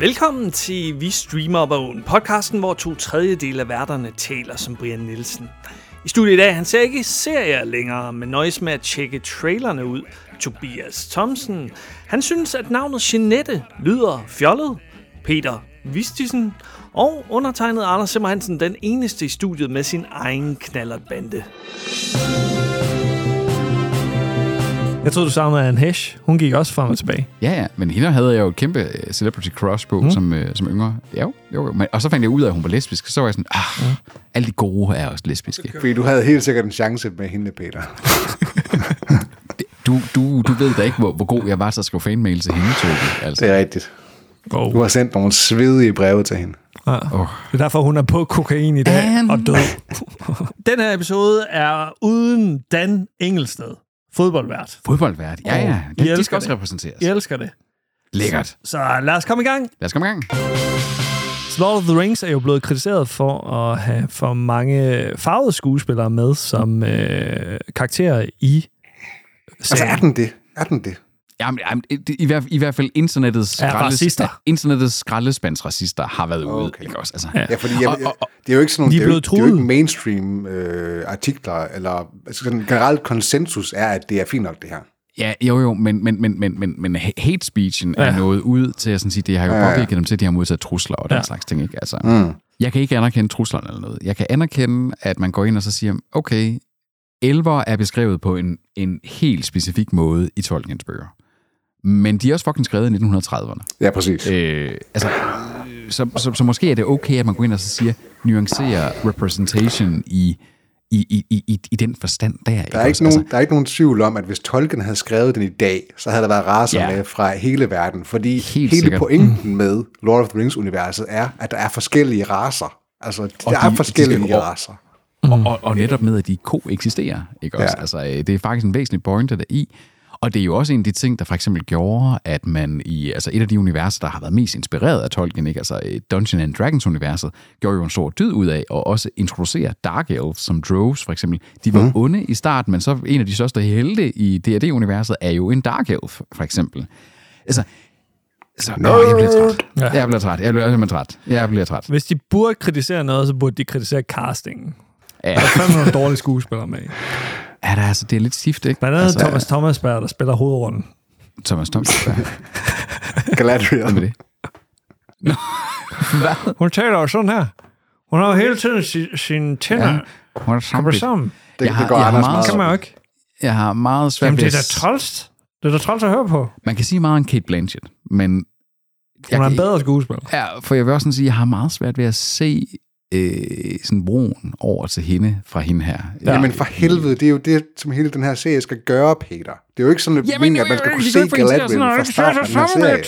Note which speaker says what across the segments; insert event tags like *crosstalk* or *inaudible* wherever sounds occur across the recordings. Speaker 1: Velkommen til Vi Streamer op ad Åen, podcasten, hvor to tredjedel af værterne taler som Brian Nielsen. I studiet i dag, han ser ikke serier længere, men nøjes med at tjekke trailerne ud. Tobias Thomsen, han synes, at navnet Jeanette lyder fjollet. Peter Vistisen og undertegnet Anders Simmer Hansen, den eneste i studiet med sin egen knallertbande.
Speaker 2: Jeg troede, du savnede en hash. Hun gik også frem og tilbage.
Speaker 3: Ja, ja, men hende havde jeg jo et kæmpe øh, celebrity crush på mm. som, øh, som yngre. Ja, jo, jo, jo. Men, og så fandt jeg ud af, at hun var lesbisk, og så var jeg sådan, ah, mm. alle de gode er også lesbiske.
Speaker 4: Fordi du havde helt sikkert en chance med hende, Peter.
Speaker 3: Du, du, du ved da ikke, hvor, hvor god jeg var til at skrive fanmail til hende, Tobi. Altså.
Speaker 4: Det er rigtigt.
Speaker 2: Oh.
Speaker 4: Du har sendt nogle svedige breve til hende.
Speaker 2: Ja.
Speaker 3: Åh.
Speaker 2: Det er derfor, hun er på kokain i dag
Speaker 3: Anne.
Speaker 2: og død. *laughs*
Speaker 1: Den her episode er uden Dan Engelsted, fodboldvært.
Speaker 3: Fodboldvært. Ja, ja.
Speaker 1: Åh, jeg
Speaker 3: De, de
Speaker 1: elsker
Speaker 3: skal også
Speaker 1: det.
Speaker 3: repræsenteres.
Speaker 1: Jeg elsker det.
Speaker 3: Lækkert.
Speaker 1: Så lad os komme i gang.
Speaker 3: Lad os komme i gang.
Speaker 2: Lord of the Rings er jo blevet kritiseret for at have for mange farvede skuespillere med som øh, karakterer i
Speaker 4: Altså, er den det? Er den det?
Speaker 3: Jamen, jamen, det, i, hvert, i hvert fald internettets,
Speaker 2: Ja, racister.
Speaker 3: internettets skraldespandsracister har været ude.
Speaker 4: Okay.
Speaker 3: Ikke også? Altså, ja.
Speaker 4: Ja, fordi jeg,
Speaker 3: Og-
Speaker 4: jeg,
Speaker 3: og- og-
Speaker 4: det er jo ikke sådan nogle,
Speaker 2: De er
Speaker 4: det er jo,
Speaker 2: blevet
Speaker 4: ikke- det er jo ikke
Speaker 2: truet.
Speaker 4: mainstream øh, artikler, eller altså sådan, generelt konsensus er, at det er fint nok det her.
Speaker 3: Ja, jo jo, men, men, men, men, men, men hate speechen ja. er noget ud til at sådan sige, det har jo
Speaker 4: Ja, ja.
Speaker 3: påvirket dem til, at de har modtaget trusler og den
Speaker 2: Ja.
Speaker 3: slags ting. Ikke? Altså, mm. Jeg kan ikke anerkende truslerne eller noget. Jeg kan anerkende, at man går ind og så siger, okay, elver er beskrevet på en, en helt specifik måde i Tolkiens bøger. Men de er også fucking skrevet i 1930'erne.
Speaker 4: Ja, præcis.
Speaker 3: Øh, altså, øh, så, så, så måske er det okay, at man går ind og så siger, nuancere representation i, i, i, i, i, i den forstand der.
Speaker 4: Der er, ikke nogen, der er ikke nogen tvivl om, at hvis Tolkien havde skrevet den i dag, så havde der været raser
Speaker 3: Ja.
Speaker 4: med fra hele verden, fordi
Speaker 3: Helt
Speaker 4: Helt hele
Speaker 3: sikkert.
Speaker 4: sikkert. pointen med Lord of the Rings-universet er, at der er forskellige raser. Altså, der
Speaker 3: de-
Speaker 4: er
Speaker 3: de
Speaker 4: forskellige
Speaker 3: skal-
Speaker 4: raser.
Speaker 3: Og, og netop med, at de koeksisterer, ikke også? Mm. Ja.
Speaker 4: Ja.
Speaker 3: Altså, øh, det er faktisk en væsentlig pointe der i. Og det er jo også en af de ting, der for eksempel gjorde, at man i altså et af de universer, der har været mest inspireret af Tolkien, ikke? altså øh, Dungeons and Dragons-universet, gjorde jo en stor dyd ud af at også introducere Dark Elves som droves, for eksempel. De var mm. onde i starten, men så en af de største helte i D&D-universet er jo en Dark Elf, for eksempel. Altså, så, åh, jeg bliver træt.
Speaker 2: Ja.
Speaker 3: Jeg bliver træt. Jeg bliver simpelthen træt. Jeg bliver træt.
Speaker 2: Hvis de burde kritisere noget, så burde de kritisere castingen.
Speaker 3: Ja,
Speaker 2: Der er fandme nogle dårlige skuespillere med.
Speaker 3: er der, altså, det er lidt stift, ikke?
Speaker 2: Blandt andet
Speaker 3: altså,
Speaker 2: altså, Thomas Thomasberg, der spiller hovedrollen.
Speaker 3: Thomas
Speaker 4: *laughs*
Speaker 3: Thompson.
Speaker 4: Galadriel.
Speaker 3: med det.
Speaker 2: Hun taler jo sådan her. Hun har jo hele tiden si- sine tænder
Speaker 3: Ja. Hun er
Speaker 2: ja.
Speaker 3: samlet.
Speaker 2: sammen.
Speaker 4: Det,
Speaker 3: Jeg har-
Speaker 4: det går
Speaker 3: jeg har
Speaker 4: Anders
Speaker 3: meget-
Speaker 4: meget
Speaker 2: Kan man jo ikke.
Speaker 3: Jeg har meget svært
Speaker 2: Jamen,
Speaker 3: ved
Speaker 2: det er da
Speaker 3: at...
Speaker 2: trolst. Det er da trolst at høre på.
Speaker 3: Man kan sige meget om Kate Blanchett, men...
Speaker 2: Hun er en
Speaker 3: kan-
Speaker 2: bedre skuespiller.
Speaker 3: Ja, for jeg vil også sådan sige, jeg har meget svært ved at se øh, sådan broen over til hende fra hende her. Ja.
Speaker 4: Jamen for helvede, det er jo det, som hele den her serie skal gøre, Peter. Det er jo ikke sådan, at,
Speaker 3: Jamen, øh,
Speaker 4: meningen, at man skal kunne se Galadriel fra starten af den her serie.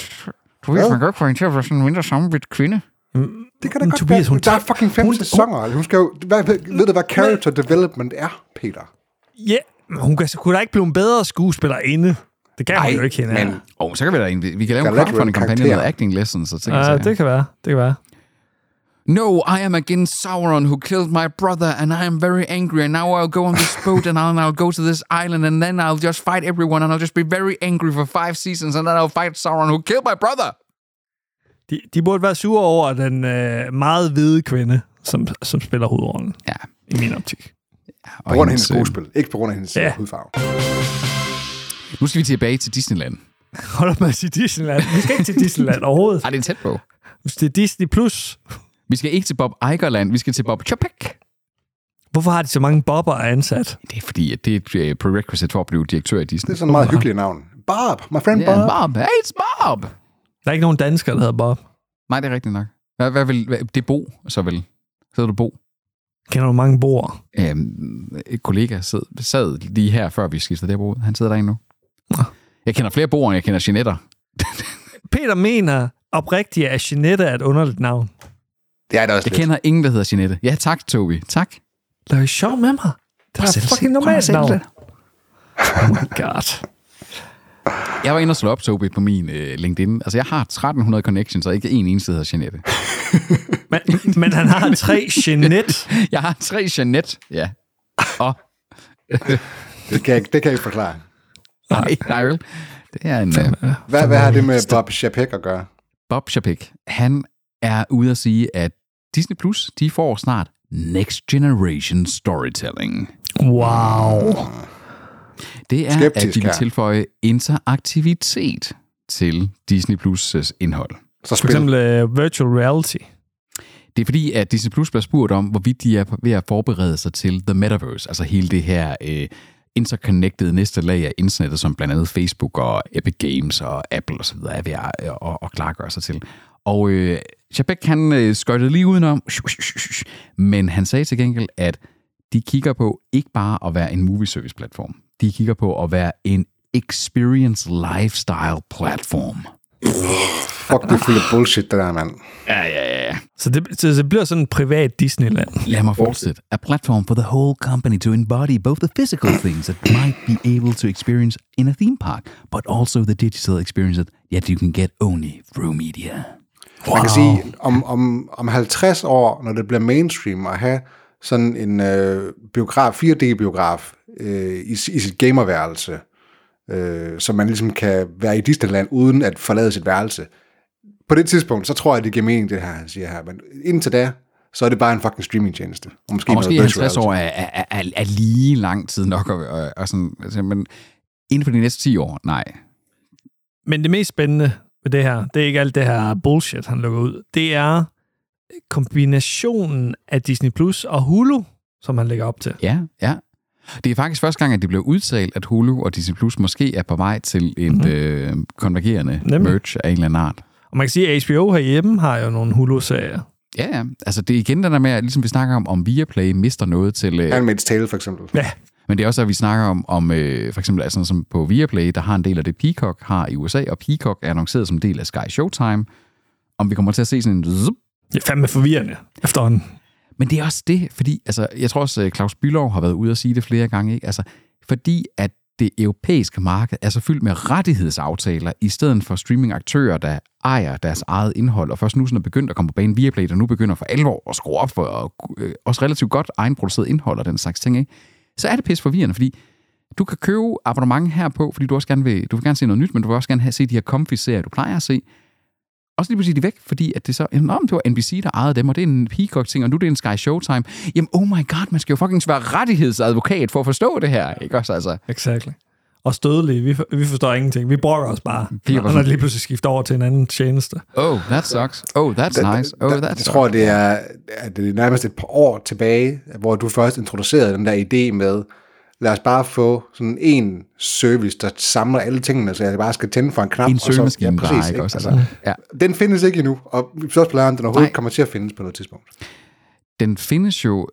Speaker 3: Du ved, man kan ikke få hende til at være sådan en mindre sammenvidt kvinde.
Speaker 4: Det kan da
Speaker 2: Men Tobias,
Speaker 4: godt Tobias,
Speaker 2: hun
Speaker 4: være. Der er
Speaker 2: tager-
Speaker 4: fucking fem
Speaker 2: hun-
Speaker 4: hun, sæsoner. Hun, skal jo, hvad, ved, ved du, hvad character development er, Peter?
Speaker 2: Ja, men hun kan, kunne da ikke blive en bedre skuespiller inde. Det kan Ej, hun jo ikke hende.
Speaker 4: men
Speaker 2: af.
Speaker 3: Åh, oh, så kan vi da egentlig... Vi kan lave en
Speaker 4: Galadriel
Speaker 3: crowdfunding-kampagne
Speaker 4: karakter.
Speaker 3: med acting lessons og ting. og
Speaker 2: Ja,
Speaker 3: sager.
Speaker 2: det kan være. Det kan være.
Speaker 3: No, I am against Sauron who killed my brother, and I am very angry. And now I'll go on this boat, and I'll, and I'll go to this island, and then I'll just fight everyone, and I'll just be very angry for five seasons, and then I'll fight Sauron who killed my brother.
Speaker 2: De, de burde være sure over den øh, meget hvide kvinde, som, som spiller hovedrollen,
Speaker 3: Ja.
Speaker 2: i min optik.
Speaker 4: på grund af hendes skuespil, ikke på grund af hendes
Speaker 2: Ja.
Speaker 4: ja. hudfarve.
Speaker 3: Nu skal vi tilbage til Disneyland.
Speaker 2: Hold op med at sige Disneyland. Vi skal ikke til *laughs* Disneyland overhovedet.
Speaker 3: Ej, det er tæt på.
Speaker 2: Det er Disney+. Plus.
Speaker 3: Vi skal ikke til Bob Igerland, vi skal til Bob Chapek.
Speaker 2: Hvorfor har de så mange bobber ansat?
Speaker 3: Det er fordi, at det er et øh, prerequisite for at blive direktør i
Speaker 4: Det
Speaker 3: Disney.
Speaker 4: er sådan et meget hyggeligt navn. Bob, my friend
Speaker 3: Ja,
Speaker 4: Bob.
Speaker 3: Bob. Hey, it's Bob!
Speaker 2: Der er ikke nogen danskere, der hedder Bob.
Speaker 3: Nej, det er rigtigt nok. Hvad, hvad vil, hvad, det er Bo, så vel. Så du Bo.
Speaker 2: Kender du mange bor?
Speaker 3: øhm, et kollega sad, sad lige her, før vi skiftede det her bord. ud. Han sidder der endnu. Jeg kender flere boer, end jeg kender Jeanetter.
Speaker 2: Peter mener oprigtigt, at Jeanette er et underligt navn.
Speaker 4: Det er det også
Speaker 3: Jeg
Speaker 4: lidt.
Speaker 3: kender ingen, der hedder Jeanette. Ja, tak, Tobi. Tak.
Speaker 2: Lad os sjov med mig. Det er et fucking normalt navn. Oh my god.
Speaker 3: Jeg var inde og slå op, Tobi, på min øh, LinkedIn. Altså, jeg har 1300 connections, og ikke en eneste hedder Jeanette.
Speaker 2: Men, men han har tre Jeanette.
Speaker 3: Jeg har tre Jeanette, ja. Og,
Speaker 4: Det kan, jeg, det kan jeg ikke forklare.
Speaker 3: nej, nej vel. Det er en... Øh,
Speaker 4: Hvad, hvad har det med Bob Chapek at gøre?
Speaker 3: Bob Chapek, han er ude at sige, at Disney Plus, de får snart Next Generation Storytelling.
Speaker 2: Wow.
Speaker 3: Det er, at
Speaker 4: Skeptisk
Speaker 3: de vil
Speaker 4: her.
Speaker 3: tilføje interaktivitet til Disney Plus' indhold.
Speaker 4: Så
Speaker 2: For
Speaker 4: spil.
Speaker 2: eksempel uh, virtual reality.
Speaker 3: Det er fordi, at Disney Plus bliver spurgt om, hvorvidt de er ved at forberede sig til The Metaverse, altså hele det her øh, interconnected næste lag af internettet, som blandt andet Facebook og Epic Games og Apple osv. er ved at øh, og, og klargøre sig til. Og øh, Chapek, han øh, skøjtede lige udenom, men han sagde til gengæld, at de kigger på ikke bare at være en movie service platform, de kigger på at være en experience lifestyle platform.
Speaker 4: Fuck, det er fuld af bullshit, det der, mand.
Speaker 3: Ja, ja, ja.
Speaker 2: Så det, så det bliver sådan en privat Disneyland.
Speaker 3: Lad mig fortsætte. A platform for the whole company to embody both the physical things that might be able to experience in a theme park, but also the digital experience that you can get only through media.
Speaker 4: Man kan sige, om, om, om 50 år, når det bliver mainstream at have sådan en øh, biograf, 4D-biograf øh, i, i sit gamerværelse, øh, så man ligesom kan være i Disneyland uden at forlade sit værelse. På det tidspunkt, så tror jeg, det giver mening, det her, han siger her. Men indtil da, så er det bare en fucking streamingtjeneste. Og måske,
Speaker 3: Og måske
Speaker 4: noget virtual
Speaker 3: 50
Speaker 4: reality.
Speaker 3: år er, er, er, er lige lang tid nok, og, og, og sådan, altså, men inden for de næste 10 år, nej.
Speaker 2: Men det mest spændende ved det her, det er ikke alt det her bullshit, han lukker ud. Det er kombinationen af Disney Plus og Hulu, som han lægger op til.
Speaker 3: Ja, ja. Det er faktisk første gang, at det blev udtalt, at Hulu og Disney Plus måske er på vej til en
Speaker 4: Mhm.
Speaker 3: mm-hmm. øh, konvergerende
Speaker 2: Nemlig.
Speaker 3: merge af en eller anden art.
Speaker 2: Og man kan sige, at HBO herhjemme har jo nogle Hulu-serier.
Speaker 3: Ja, ja. Altså, det er igen den der med, at ligesom vi snakker om, om Viaplay mister noget til... Øh,
Speaker 4: Handmaid's Tale, for eksempel.
Speaker 2: Ja,
Speaker 3: men det er også, at vi snakker om, om øh, for eksempel altså, sådan som på Viaplay, der har en del af det, Peacock har i USA, og Peacock er annonceret som en del af Sky Showtime. Om vi kommer til at se sådan en... Zup.
Speaker 2: det er fandme forvirrende efterhånden.
Speaker 3: Men det er også det, fordi... Altså, jeg tror også, øh, Claus Bylov har været ude og sige det flere gange, ikke? Altså, fordi at det europæiske marked er så fyldt med rettighedsaftaler, i stedet for streamingaktører, der ejer deres eget indhold, og først nu sådan er begyndt at komme på banen Viaplay, der nu begynder for alvor at skrue op for og, øh, også relativt godt egenproduceret indhold og den slags ting, ikke? så er det pisse forvirrende, fordi du kan købe abonnement herpå, fordi du også gerne vil, du vil gerne se noget nyt, men du vil også gerne have, se de her comfy serier, du plejer at se. Og så lige pludselig er de væk, fordi at det så, jamen, nå, men det var NBC, der ejede dem, og det er en Peacock-ting, og nu er det en Sky Showtime. Jamen, oh my god, man skal jo fucking være rettighedsadvokat for at forstå det her, ikke også altså?
Speaker 2: Exactly. Og stødelige, vi, for, vi forstår ingenting. Vi brokker os bare,
Speaker 3: Det er
Speaker 2: når
Speaker 3: bare
Speaker 2: når
Speaker 3: sådan-
Speaker 2: det lige pludselig skifter over til en anden tjeneste.
Speaker 3: Oh, that sucks. Oh, that's nice. Oh,
Speaker 4: Der-
Speaker 3: that
Speaker 4: jeg
Speaker 3: sucks.
Speaker 4: tror, det er, at det er nærmest et par år tilbage, hvor du først introducerede den der idé med, lad os bare få sådan en service, der samler alle tingene, så jeg bare skal tænde for en knap.
Speaker 3: en
Speaker 4: og så-
Speaker 3: søgemaskine
Speaker 4: altså, ja, præcis,
Speaker 3: bare, ikke også?
Speaker 4: Altså,
Speaker 3: Altså, ja.
Speaker 4: Den findes ikke endnu, og vi så også plejer, om den overhovedet
Speaker 3: Nej.
Speaker 4: ikke kommer til at findes på noget tidspunkt.
Speaker 3: den findes jo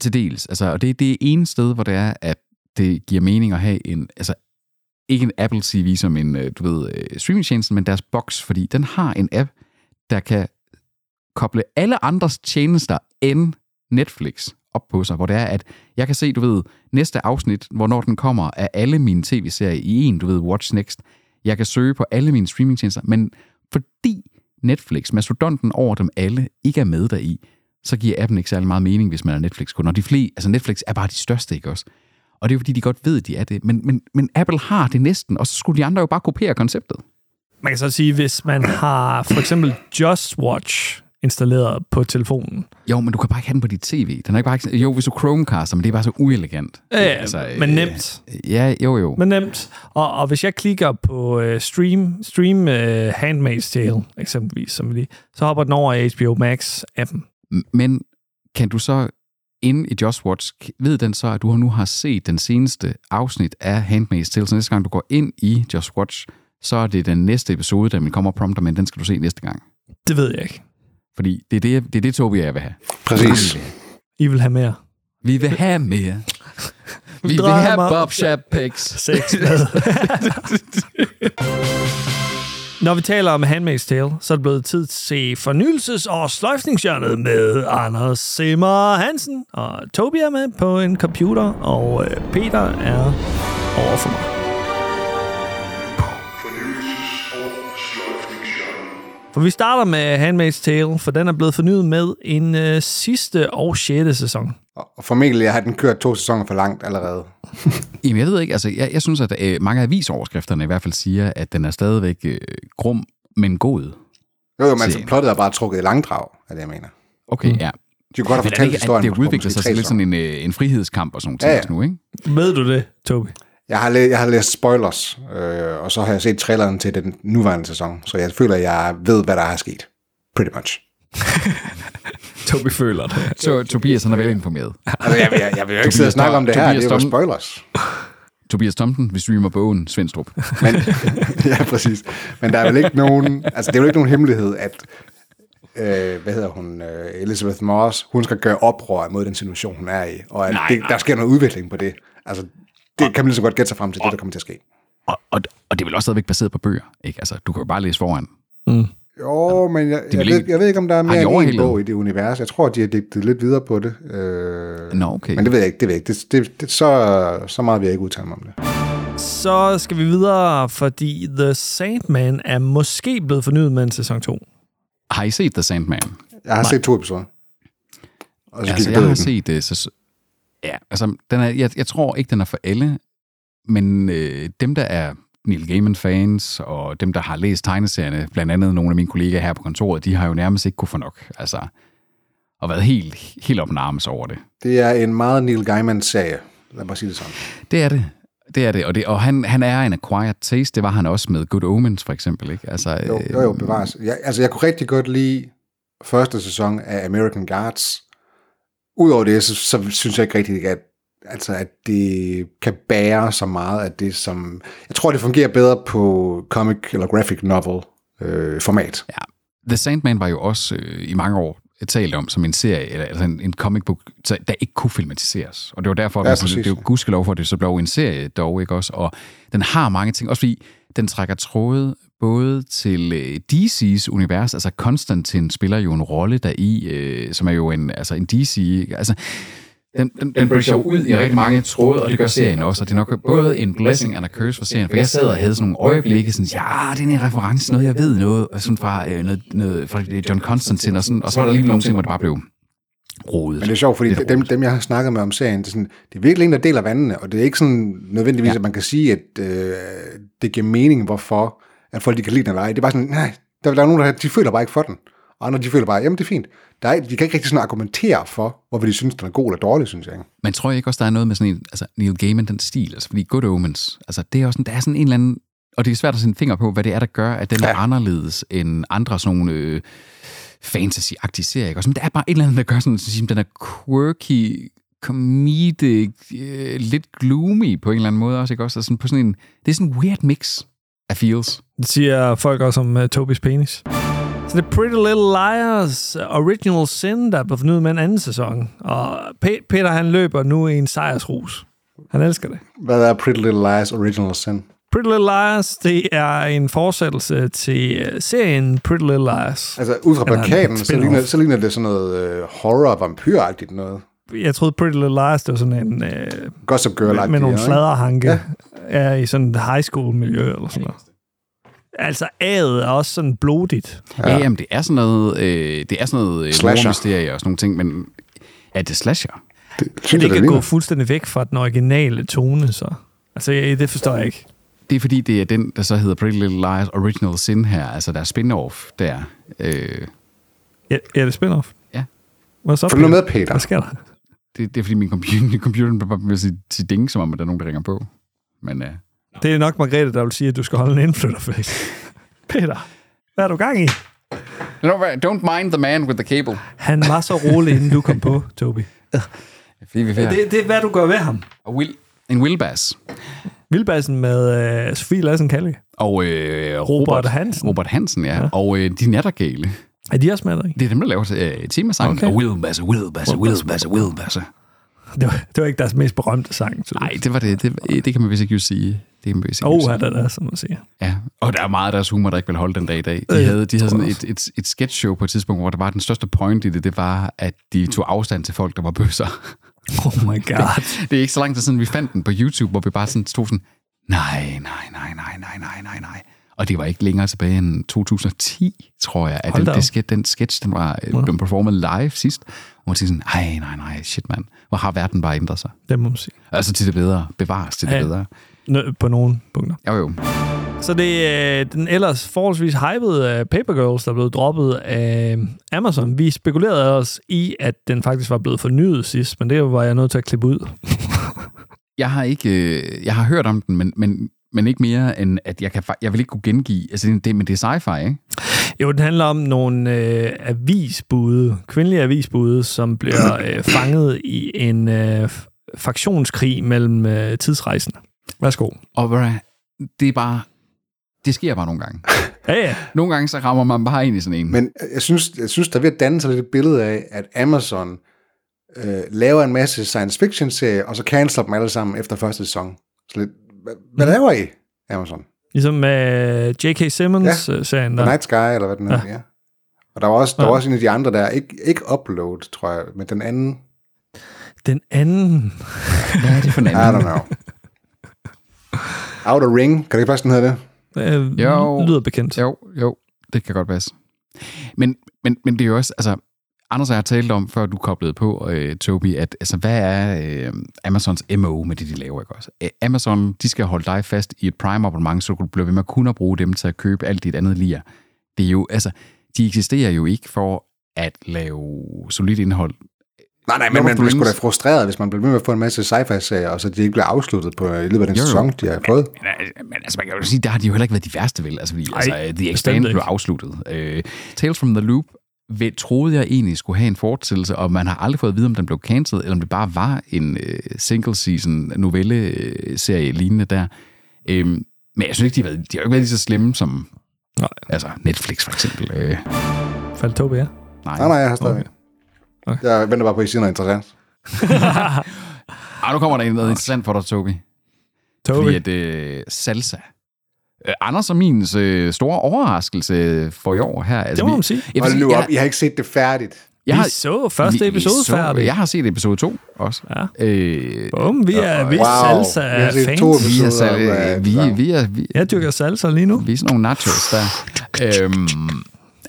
Speaker 3: til dels, altså, og det er det ene sted, hvor det er, at det giver mening at have en, altså ikke en Apple TV som en, øh, du ved, øh, streamingtjeneste, men deres box, fordi den har en app, der kan koble alle andres tjenester end Netflix op på sig, hvor det er, at jeg kan se, du ved, næste afsnit, hvornår den kommer af alle mine tv-serier i en, du ved, Watch Next. Jeg kan søge på alle mine streamingtjenester, men fordi Netflix, mastodonten over dem alle, ikke er med deri, så giver appen ikke særlig meget mening, hvis man er Netflix-kunde. Og de flere, altså Netflix er bare de største, ikke også? Og det er jo fordi, de godt ved, de er det. Men, men, men Apple har det næsten, og så skulle de andre jo bare kopiere konceptet.
Speaker 2: Man kan så sige, hvis man har for eksempel Just Watch installeret på telefonen,
Speaker 3: Jo, men du kan bare ikke have den på dit tv. Den er ikke bare ikke, jo, hvis du Chromecaster, men det er bare så uelegant.
Speaker 2: Ja,
Speaker 3: Det er
Speaker 2: men nemt.
Speaker 3: Ja, jo, jo.
Speaker 2: Men nemt. Og, og hvis jeg klikker på øh, stream, stream øh, Handmaid's Tale, eksempelvis, som vi lige, så hopper den over i HBO Max-appen.
Speaker 3: Men kan du så inde i Just Watch, ved den så, at du nu har set den seneste afsnit af Handmaid's Tale, så næste gang du går ind i Just Watch, så er det den næste episode, der vil komme og prompter, men den skal du se næste gang.
Speaker 2: Det ved jeg ikke.
Speaker 3: Fordi det er det, det, er det Tobi, jeg vil have.
Speaker 4: Præcis.
Speaker 2: I vil have mere
Speaker 3: Vi vil have
Speaker 2: *laughs*
Speaker 3: mere. Vi vil
Speaker 2: Drømmer.
Speaker 3: have Bob Chapeks.
Speaker 2: sex med. *laughs* Når vi taler om Handmaid's Tale, så er det blevet tid til at se fornyelses- og sløjfningsjørnet med Anders Simmer Hansen. Og Tobi er med på en computer, og øh, Peter er over for mig. For vi starter med Handmaid's Tale, for den er blevet fornyet med en øh, sidste og sjette sæson.
Speaker 4: Og og formentlig har den kørt to sæsoner for langt allerede.
Speaker 3: Jamen, jeg ved ikke. Altså, jeg, jeg synes, at øh, mange af avisoverskrifterne i hvert fald siger, at den er stadigvæk øh, grum, men god.
Speaker 4: Jo, jo, men altså, plottet er bare trukket i langdrag, er det, jeg mener.
Speaker 3: Okay, mm. ja.
Speaker 4: De kunne godt have
Speaker 3: Men er det
Speaker 4: fortalt
Speaker 3: ikke, at
Speaker 4: historien.
Speaker 3: det
Speaker 4: på- på
Speaker 3: udvikler sig
Speaker 4: måske
Speaker 3: til
Speaker 4: tre
Speaker 3: lidt sådan en, øh, en frihedskamp og sådan nogle ting
Speaker 4: Ja,
Speaker 3: ja,
Speaker 4: ja.
Speaker 3: ja. nu, ikke?
Speaker 4: *laughs*
Speaker 2: Ved du det, Tobi?
Speaker 4: Jeg har, læ- jeg har læst spoilers, øh, og så har jeg set traileren til den nuværende sæson, så jeg føler, at jeg ved, hvad der er sket. Pretty much.
Speaker 2: Tobi føler det.
Speaker 3: Så Tobias, han er velinformeret.
Speaker 4: Altså, jeg, jeg, jeg vil jo ikke sidde
Speaker 3: Tobias
Speaker 4: og snakke om det her,
Speaker 3: Tobias
Speaker 4: det er jo
Speaker 3: Dom-
Speaker 4: spoilers.
Speaker 3: Tobias Tomten, vi streamer bogen
Speaker 4: *laughs*
Speaker 3: Svendstrup.
Speaker 4: Men, *laughs* ja, præcis. Men der er vel ikke nogen, altså, det er vel ikke nogen hemmelighed, at øh, hvad hedder hun, øh, Elizabeth Moss, hun skal gøre oprør mod den situation, hun er i, og at
Speaker 3: Nej,
Speaker 4: det, der sker noget udvikling på det. Altså, det kan man lige så godt gætte sig frem til, det der kommer til at ske.
Speaker 3: Og, og, og det er vel også stadigvæk baseret på bøger, ikke? Altså, du kan jo bare læse foran.
Speaker 4: Jo, men jeg, jeg,
Speaker 3: vel
Speaker 4: ved,
Speaker 3: ikke-
Speaker 4: jeg ved ikke, om der
Speaker 3: Har
Speaker 4: er
Speaker 3: de
Speaker 4: mere end en
Speaker 3: overhældet?
Speaker 4: bog i det univers. Jeg tror, de har digtet lidt videre på det. Øh,
Speaker 3: Nå, okay.
Speaker 4: Men det ved jeg ikke, det ved jeg ikke. Det, det, det, så, så meget vil jeg ikke udtale mig om det.
Speaker 2: Så skal vi videre, fordi The Sandman er måske blevet fornyet med en sæson 2.
Speaker 3: Har I set The Sandman?
Speaker 4: Jeg har Nej. set to episoder. Og så
Speaker 3: altså,
Speaker 4: gik
Speaker 3: jeg har
Speaker 4: det set...
Speaker 3: set det. Så, ja, altså, den er, jeg, jeg tror ikke, den er for alle, men øh, dem, der er Neil Gaiman-fans, og dem, der har læst tegneserierne, blandt andet nogle af mine kollegaer her på kontoret, de har jo nærmest ikke kunne få nok, altså, og været helt, helt op nærmest over det.
Speaker 4: Det er en meget Neil Gaiman-serie. Lad mig sige det sådan.
Speaker 3: Det er det. Det er det, og, det, og han, han er en acquired taste. Det var han også med Good Omens, for eksempel. Ikke? Altså,
Speaker 4: Jo, jo, jo bevares. Jeg, altså, jeg kunne rigtig godt lide første sæson af American Guards. Udover det, så, så synes jeg ikke rigtig, at, altså, at det kan bære så meget af det, som... Jeg tror, det fungerer bedre på comic eller graphic novel øh, format.
Speaker 3: Ja. The Sandman var jo også øh, i mange år talt om som en serie, eller altså en, en comic book, så- der ikke kunne filmatiseres. Og det var derfor,
Speaker 4: Ja,
Speaker 3: ja, sådan,
Speaker 4: præcis,
Speaker 3: det er jo
Speaker 4: ja.
Speaker 3: gudskelov for, at det så blev en serie dog, ikke også? Og den har mange ting, også fordi den trækker tråde både til øh, DC's univers, altså Konstantin spiller jo en rolle deri, øh, som er jo en, altså en DC, ikke? altså den, den, den bryder jo ud i rigtig mange tråde, og det gør serien også, og det er nok både en blessing and a curse for serien, for jeg sad og havde sådan nogle øjeblikke, sådan, ja, det er en reference, noget jeg ved noget, og sådan fra, øh, noget, noget, fra øh, John Constantine, og, sådan, og så var der lige nogle ting, hvor det bare blev rodet.
Speaker 4: Men det er sjovt, fordi
Speaker 3: Lidt
Speaker 4: dem,
Speaker 3: rodet.
Speaker 4: dem, jeg har snakket med om serien, det er, sådan, det er virkelig en, der deler vandene, og det er ikke sådan nødvendigvis, ja. at man kan sige, at øh, det giver mening, hvorfor at folk de kan lide den eller ej. Det er bare sådan, nej, der, der er nogen, der de føler bare ikke for den. Og andre, de føler bare, jamen det er fint. Der er, de kan ikke rigtig sådan argumentere for, hvorfor de synes, den er god eller dårlig, synes jeg. ikke?
Speaker 3: Men tror jeg ikke også, der er noget med sådan en, altså Neil Gaiman, den stil, altså fordi Good Omens, altså det er også sådan, der er sådan en eller anden, og det er svært at sætte en finger på, hvad det er, der gør, at den ja. er anderledes end andre sådan nogle øh, fantasy-agtige serier, ikke også? Men der er bare et eller andet, der gør sådan, sådan den er quirky, comedic, øh, lidt gloomy på en eller anden måde også, ikke også? Altså sådan på sådan en, det er sådan en weird mix af feels.
Speaker 2: Det siger folk også om uh, Tobis penis. Så det er Pretty Little Liars Original Sin, der er blevet fornyet med en anden sæson. Og Pe- Peter, han løber nu i en sejrsrus. Han elsker det.
Speaker 4: Hvad er Pretty Little Lies Original Sin?
Speaker 2: Pretty Little Liars, det er en fortsættelse til øh, serien Pretty Little Liars.
Speaker 4: Altså, ud fra
Speaker 2: Eller en
Speaker 4: plakaten, så
Speaker 2: spin-off.
Speaker 4: ligner, så ligner det sådan noget øh, horror-vampyragtigt noget.
Speaker 2: Jeg troede Pretty Little Liars, det var sådan en... Øh,
Speaker 4: Gossip Girl-agtigt.
Speaker 2: med nogle
Speaker 4: ikke?
Speaker 2: sladderhanke. Ja.
Speaker 4: Ja.
Speaker 2: Er i sådan et high school miljø eller sådan noget. Altså, A'et er også sådan blodigt.
Speaker 3: Ja, ja jamen, det er sådan noget, øh, det er sådan noget øh,
Speaker 4: Slasher.
Speaker 3: mordmysterier og sådan nogle ting, men er det slasher?
Speaker 4: Det,
Speaker 2: Kan
Speaker 4: synes
Speaker 2: det
Speaker 4: jeg, det
Speaker 2: ikke gå
Speaker 4: ligner.
Speaker 2: fuldstændig væk fra den originale tone, så? Altså, ja, det forstår jeg ikke.
Speaker 3: Det er fordi, det er den, der så hedder Pretty Little Liars Original Sin her, altså der er spin-off der. Øh,
Speaker 2: Ja, ja det er spin-off.
Speaker 3: Ja.
Speaker 2: Hvad så,
Speaker 4: Få nu med,
Speaker 2: Hvad
Speaker 4: Peter.
Speaker 2: sker der?
Speaker 3: det, det er fordi, min computer, computeren bare vil sige, sige ding, som om, at der er nogen, der ringer på. Men øh,
Speaker 2: Det er nok Margrethe, der vil sige, at du skal holde en indflytterfest. *laughs* Peter, hvad er du gang i?
Speaker 3: don't don't mind the man with the cable.
Speaker 2: Han var så rolig, inden du kom på, Tobi.
Speaker 3: Fordi vi
Speaker 2: Ja. *laughs*
Speaker 3: det...
Speaker 2: Det, det er, hvad du gør ved ham.
Speaker 3: Og Will, en Willbass.
Speaker 2: Vildbassen med øh, Sofie Lassen Kalle.
Speaker 3: Og øh,
Speaker 2: Robert Hansen.
Speaker 3: Robert Hansen, ja. ja. Og øh, de nattergale.
Speaker 2: Er de også med dig?
Speaker 3: Det er dem, der laver øh, temasangen.
Speaker 2: Okay.
Speaker 3: Og Willbass, Willbass, Willbass, Willbass.
Speaker 2: Det var, det var ikke deres mest berømte sang, tydeligvis.
Speaker 3: Nej, det var det. det. øh, Det kan man vist ikke jo sige. Det kan man vist ikke jo
Speaker 2: Åh,
Speaker 3: sige.
Speaker 2: er der der, som man siger.
Speaker 3: Ja, og der er meget af deres humor, der ikke vil holde den dag i dag. De
Speaker 2: Øh,
Speaker 3: havde, de havde
Speaker 2: tror
Speaker 3: sådan
Speaker 2: jeg
Speaker 3: et, et, et sketchshow på et tidspunkt, hvor der var den største point i det, det var, at de tog afstand til folk, der var bøsser. *laughs*
Speaker 2: Oh my *laughs* god.
Speaker 3: Det er ikke så lang tid siden, vi fandt den på YouTube, hvor vi bare sådan stod sådan, nej, nej, nej, nej, nej, nej, nej, nej. Og det var ikke længere tilbage end 2010, tror jeg, at
Speaker 2: Hold
Speaker 3: den,
Speaker 2: da op.
Speaker 3: det, sketch, den sketch, den var ja. den performet live sidst. Og man tænkte sådan, nej, nej, nej, shit mand, hvor har verden bare ændret sig?
Speaker 2: Det må man sige.
Speaker 3: Altså til det bedre, bevares til det
Speaker 2: Ja.
Speaker 3: bedre.
Speaker 2: Nø- På nogle punkter.
Speaker 3: Jo jo.
Speaker 2: Så det er øh, den ellers forholdsvis hypede øh, Paper Girls, der er blevet droppet af Amazon. Vi spekulerede også i, at den faktisk var blevet fornyet sidst, men det var jeg nødt til at klippe ud.
Speaker 3: Jeg har ikke, øh, jeg har hørt om den, men, men, men ikke mere end, at jeg, kan, fa- jeg vil ikke kunne gengive, altså det, det, men det er sci-fi, ikke?
Speaker 2: Jo, den handler om nogle øh, avisbude, kvindelige avisbude, som *clears throat* bliver øh, fanget i en øh, f- faktionskrig mellem øh, tidsrejsende. Værsgo.
Speaker 3: Og hvad er- det er bare, det sker bare nogle gange.
Speaker 2: Ja, ja.
Speaker 3: Nogle gange så rammer man bare ind i sådan en.
Speaker 4: Men jeg synes, jeg synes der er ved at danne sig lidt et billede af, at Amazon øh, laver en masse science fiction serier, og så canceler dem alle sammen efter første sæson. Så lidt, hvad, hvad
Speaker 3: Mm.
Speaker 4: laver I, Amazon?
Speaker 2: Ligesom med øh, J.K. Simmons-serien
Speaker 4: The
Speaker 2: der.
Speaker 4: Night Sky, eller hvad den hedder, ja. ja. Og der var også, der var også en af de andre, der er ikke, ikke upload, tror jeg, men den anden,
Speaker 2: Den anden.
Speaker 3: Hvad er det for en
Speaker 4: I don't
Speaker 3: anden? *laughs*
Speaker 4: know. Outer Ring, kan det ikke passe, den hedder det?
Speaker 2: Øh,
Speaker 3: Jo.
Speaker 2: lyder bekendt.
Speaker 3: Jo, jo, det kan godt passe. Men, men, men det er jo også, altså, Anders og jeg har talt om, før du koblede på, øh, Tobi, at altså, hvad er øh, Amazons MO med det, de laver? Ikke også? Øh, Amazon, de skal holde dig fast i et Prime-abonnement, så du bliver ved med kun at bruge dem til at købe alt dit andet lir. Det er jo, altså, de eksisterer jo ikke for at lave solidt indhold.
Speaker 4: Nej, nej, men
Speaker 3: Lord
Speaker 4: man
Speaker 3: of the
Speaker 4: bliver sgu da
Speaker 3: Rings.
Speaker 4: frustreret, hvis man bliver ved med at få en masse sci-fi-serier, og så de ikke bliver afsluttet på, i løbet af den
Speaker 3: Jo, jo.
Speaker 4: sæson, de har fået.
Speaker 3: Men, øh, Men altså, man kan jo sige, der har de jo heller ikke været de værste, vel? Altså, fordi,
Speaker 2: Ej,
Speaker 3: altså øh, The
Speaker 2: bestemt
Speaker 3: Expanse
Speaker 2: ikke.
Speaker 3: blev afsluttet. Øh, Tales from the Loop ved, troede jeg egentlig skulle have en fortsættelse, og man har aldrig fået at vide, om den blev cancelled, eller om det bare var en øh, single-season novelle-serie lignende der. Øh, men jeg synes ikke, de har, været, de har jo ikke været lige så slemme som
Speaker 2: Nej.
Speaker 3: altså Netflix for eksempel. Øh,
Speaker 2: Faldt Tobi af?
Speaker 3: nej.
Speaker 4: Nej, nej, jeg har stadig. Okay. Jeg venter bare på, at I siger noget interessant.
Speaker 3: Ah, nu kommer der noget interessant for dig, Tobi.
Speaker 2: Tobi.
Speaker 3: Fordi at øh, salsa. Øh, Anders og min øh, store overraskelse for i år her. Altså,
Speaker 2: Det må
Speaker 3: vi-
Speaker 2: man sige.
Speaker 3: Jeg vil
Speaker 4: Hold
Speaker 3: sige,
Speaker 4: nu
Speaker 3: jeg-
Speaker 4: op, I har ikke set det færdigt.
Speaker 3: Jeg
Speaker 2: vi så første
Speaker 3: vi- vi
Speaker 2: episode
Speaker 3: så-
Speaker 2: færdig.
Speaker 3: Jeg har set episode 2 også.
Speaker 2: Ja.
Speaker 3: Øh,
Speaker 2: Bum, vi er, vi er
Speaker 4: Wow. Vi har
Speaker 2: salsa
Speaker 4: set
Speaker 2: fans.
Speaker 4: to
Speaker 3: vi er,
Speaker 4: episoder.
Speaker 3: så, øh, vi,
Speaker 4: Wow.
Speaker 3: vi, er, vi,
Speaker 2: Jeg dyrker salsa lige nu.
Speaker 3: vi er sådan nogle nachos
Speaker 2: *laughs*
Speaker 3: der. Øhm,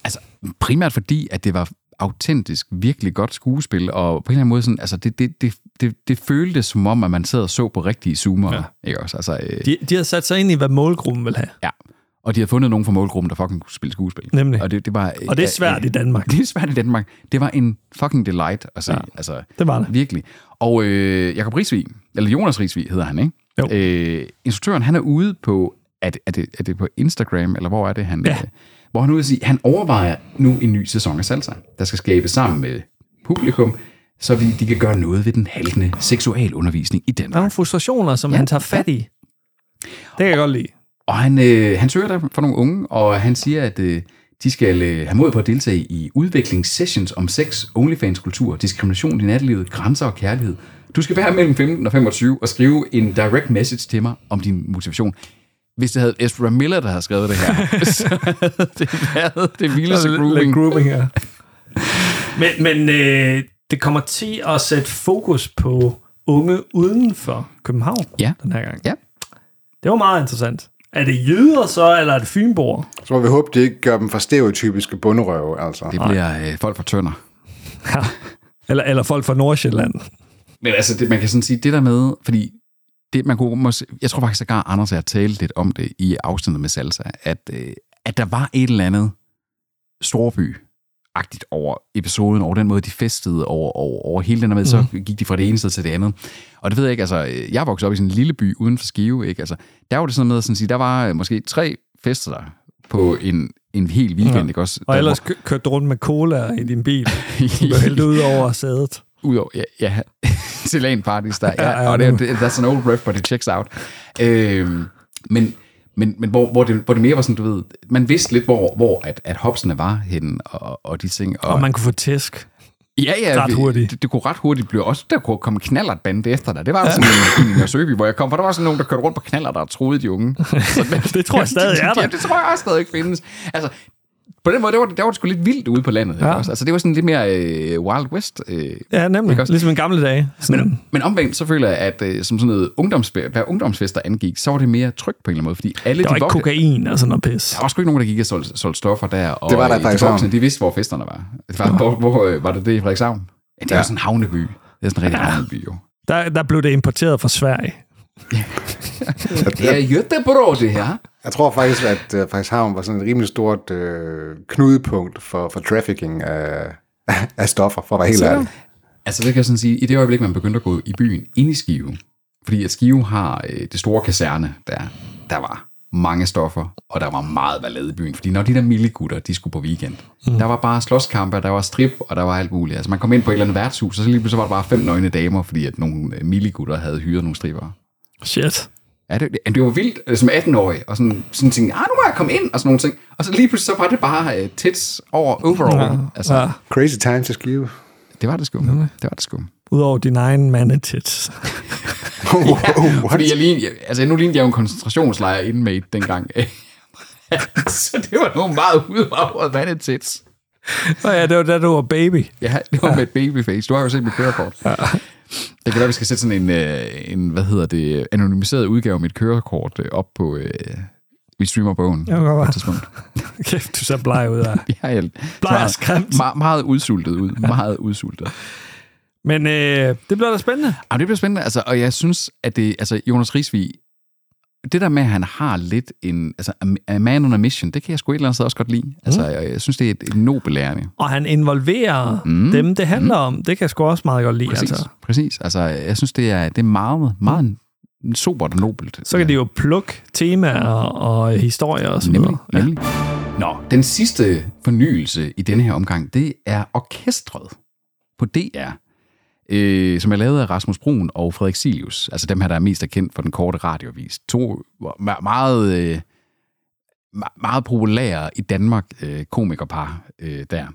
Speaker 3: altså, primært fordi, at det var autentisk, virkelig godt skuespil, og på en eller anden måde sådan, altså det, det, det, det, det føltes som om, at man sad og så på rigtige zoomer, ja. ikke også? Altså, øh,
Speaker 2: De, de har sat sig ind i, hvad målgruppen vil have.
Speaker 3: ja. Og de havde fundet nogen fra målgruppen, der fucking kunne spille skuespil.
Speaker 2: Nemlig.
Speaker 3: Og det, det var, øh,
Speaker 2: Og det er svært i Danmark.
Speaker 3: Det er svært i Danmark. *laughs* Det var en fucking delight at se. Ja, altså,
Speaker 2: det var det.
Speaker 3: Virkelig. Og øh, Jacob Risvig, eller Jonas Risvig hedder han, ikke?
Speaker 2: Jo.
Speaker 3: Øh, instruktøren, han er ude på, er det, er, det, er det på Instagram, eller hvor er det han?
Speaker 2: Ja.
Speaker 3: øh, Hvor han er ude at sige, han overvejer nu en ny sæson af Salsa, der skal skabes sammen med publikum, så vi, de kan gøre noget ved den haltende seksualundervisning i
Speaker 2: Der er
Speaker 3: Danmark.
Speaker 2: nogle frustrationer, som ja.
Speaker 3: Ja.
Speaker 2: han tager fat i. Det kan jeg godt lide.
Speaker 3: Og han, øh, han søger der for nogle unge, og han siger, at øh, de skal øh, have mod på at deltage i udviklingssessions om sex, OnlyFans-kultur, diskrimination i nattelivet, grænser og kærlighed. Du skal være mellem 15 og 25 og skrive en direct message til mig om din motivation. Hvis det havde Ezra Miller, der havde skrevet det her, *laughs* så havde det været det vildeste
Speaker 2: Lidt- lidt
Speaker 3: grooming.
Speaker 2: grooming ja. *laughs* men men øh, det kommer til at sætte fokus på unge uden for København
Speaker 3: Ja.
Speaker 2: den her gang.
Speaker 3: Ja.
Speaker 2: Det var meget interessant. Er det jyder så, eller er det fynborger?
Speaker 4: Så må vi håbe, det ikke gør dem for stereotypiske bunderøve, altså.
Speaker 3: Det bliver øh, folk fra Tønder.
Speaker 2: Ja. Eller, eller folk fra Nordsjælland?
Speaker 3: Men altså, det, man kan sådan sige, det der med, fordi det, man kunne, mås- jeg tror faktisk, sågar Anders og jeg talte lidt om det i afsnittet med Salsa, at, øh, at der var et eller andet storby agtigt over episoden, over den måde, de festede over, over, over hele den her med, så
Speaker 2: Mhm.
Speaker 3: gik de fra det ene sted til det andet. Og det ved jeg ikke, altså, øh, jeg voksede op i sådan en lille by uden for Skive, ikke? Altså, der var det sådan noget med at sådan sige, der var øh, måske tre fester der på en, en hel weekend, ja. ikke også?
Speaker 2: Og
Speaker 3: Der-
Speaker 2: ellers kø- kørte du rundt med cola i din *laughs* bil, som blev hældt ud over sædet.
Speaker 3: Udover, ja, ja *laughs* til LAN parties, der
Speaker 2: Ja,
Speaker 3: ja,
Speaker 2: ja,
Speaker 3: ja, og det, er-
Speaker 2: nu.
Speaker 3: det, that's an old ref, but it checks out. Øhm, men, men, men hvor, hvor, det, hvor det mere var sådan, du ved, man vidste lidt, hvor, hvor at, at hopsene var henne, og, og de ting.
Speaker 2: Og man kunne få tæsk.
Speaker 3: ja, ja,
Speaker 2: ret
Speaker 3: vi-
Speaker 2: hurtigt.
Speaker 3: Det, det, kunne ret hurtigt blive også, der kunne komme knallert bande efter dig. Det var sådan en en i Nørresøby, hvor jeg kom, for der var sådan nogen, der kørte rundt på knaller, der troede de unge. Så, men,
Speaker 2: Det tror jeg *laughs* stadig er der.
Speaker 3: *laughs* Ja, det tror jeg også stadig findes. Altså, på den måde, der var, det- der var det sgu lidt vildt ude på landet. Ja. Også? Altså, det var sådan lidt mere øh, Wild West. Øh,
Speaker 2: Ja, nemlig.
Speaker 3: Ikke også?
Speaker 2: Ligesom i gamle dage. Sådan, men,
Speaker 3: Men omvendt, så føler jeg, at øh, som sådan noget ungdoms, hvad ungdomsfester angik, så var det mere trygt på en eller anden måde, fordi alle
Speaker 2: der var
Speaker 3: de
Speaker 2: ikke
Speaker 3: voksne...
Speaker 2: kokain og sådan noget pis.
Speaker 3: Der var sgu ikke nogen, der gik og solgte, solgte stoffer der, og
Speaker 4: Det var der i
Speaker 3: øh, de
Speaker 4: Frederikshavn.
Speaker 3: voksne, de vidste, hvor festerne var. Det var hvor, hvor øh, var det det i Frederikshavn? Ja, det er jo sådan en havneby. Det er sådan en rigtig havneby, jo.
Speaker 2: Der, der blev det importeret fra Sverige.
Speaker 4: Jeg,
Speaker 3: Det er Göteborg, det her.
Speaker 4: jeg tror faktisk, at uh, Frederikshavn var sådan et rimelig stort øh, knudepunkt for, for trafficking af, *laughs* af stoffer, for at være helt ærlig.
Speaker 3: Altså, det kan jeg sådan sige, i det øjeblik, man begyndte at gå i byen ind i Skive, fordi at Skive har øh, det store kaserne, der, der var mange stoffer, og der var meget ballade i byen, fordi når de der millegutter, de skulle på weekend, mm. der var bare slåskampe, og der var strip, og der var alt muligt. Altså, man kom ind på et eller andet værtshus, og så lige pludselig var der bare fem nøgne damer, fordi at nogle øh, millegutter havde hyret nogle stripper.
Speaker 2: Shit.
Speaker 3: Ja, det, det, det var vildt øh, som 18-årig, og sådan, sådan tænkte, ah, nu må jeg komme ind, og sådan nogle ting. Og så lige pludselig, så var det bare øh, tits over overall. Ja. Altså, ja.
Speaker 4: Crazy time to *laughs* skive.
Speaker 3: det var det sgu. Det var det sgu.
Speaker 2: Udover din egen mandetits.
Speaker 4: Oh, oh, what?
Speaker 3: Fordi jeg lignede, jeg- altså nu lignede jeg jo en koncentrationslejr inmate dengang. *laughs* så det var nogle meget udvavret vandetits.
Speaker 2: Nå ja, det var da du var baby.
Speaker 3: Ja, det var med et babyface. Du har jo set mit kørekort. Det kan være, vi skal sætte sådan en, øh, en hvad hedder det, anonymiseret udgave af mit kørekort øh, op på... Øh, vi streamer bogen
Speaker 2: kan godt
Speaker 3: på
Speaker 2: være.
Speaker 3: et tidspunkt.
Speaker 2: *laughs* Kæft, du *laughs* ser bleg ud af.
Speaker 3: Ja, jeg
Speaker 2: Bleg og skræmt.
Speaker 3: meget, meget udsultet ud. Meget udsultet.
Speaker 2: Men øh, det bliver da spændende.
Speaker 3: Jamen, det bliver spændende, altså, og jeg synes, at det, altså, Jonas Risvig, det der med, at han har lidt en, altså, a- a man on a mission, det kan jeg sgu et eller andet sted også godt lide. Altså, og jeg synes, det er et, et nobelærende.
Speaker 2: Og han involverer mm. dem, det handler mm. om. Det kan jeg sgu også meget godt lide.
Speaker 3: Præcis,
Speaker 2: Altså.
Speaker 3: præcis. Altså, jeg synes, det er, det er meget, meget sobert og nobelt.
Speaker 2: Så kan de jo plukke temaer og historier og så
Speaker 3: Nemlig,
Speaker 2: videre. Ja.
Speaker 3: nemlig. Nå, den sidste fornyelse i denne her omgang, det er orkestret på DR, øh, som er lavet af Rasmus Brun og Frederik Silius. Altså dem her, der er mest er kendt for den korte radiovis. To me- meget, øh, me- meget populære i Danmark øh, komikerpar øh, der.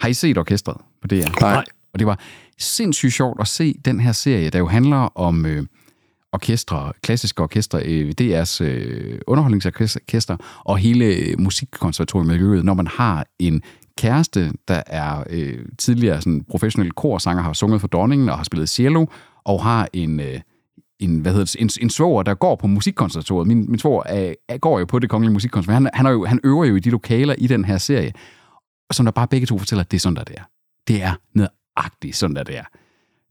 Speaker 3: Har I set orkestret på DR?
Speaker 4: Nej.
Speaker 3: Og det var sindssygt sjovt at se den her serie, der jo handler om øh, orkestre, klassiske orkestre, øh, DR's øh, underholdningsorkester og hele øh, musikkonservatoriemiljøet, når man har en kæreste, der er øh, tidligere sådan professionel korsanger, har sunget for dronningen og har spillet cello, og har en... Øh, en, hvad hedder det, en, en svoger, der går på musikkonservatoriet. Min, min svoger er, er, går jo på det kongelige musikkonservatorium. Han, han, er jo, han øver jo i de lokaler i den her serie, som der bare begge to fortæller, at det er sådan, der det er. Det er nøjagtigt sådan, der det er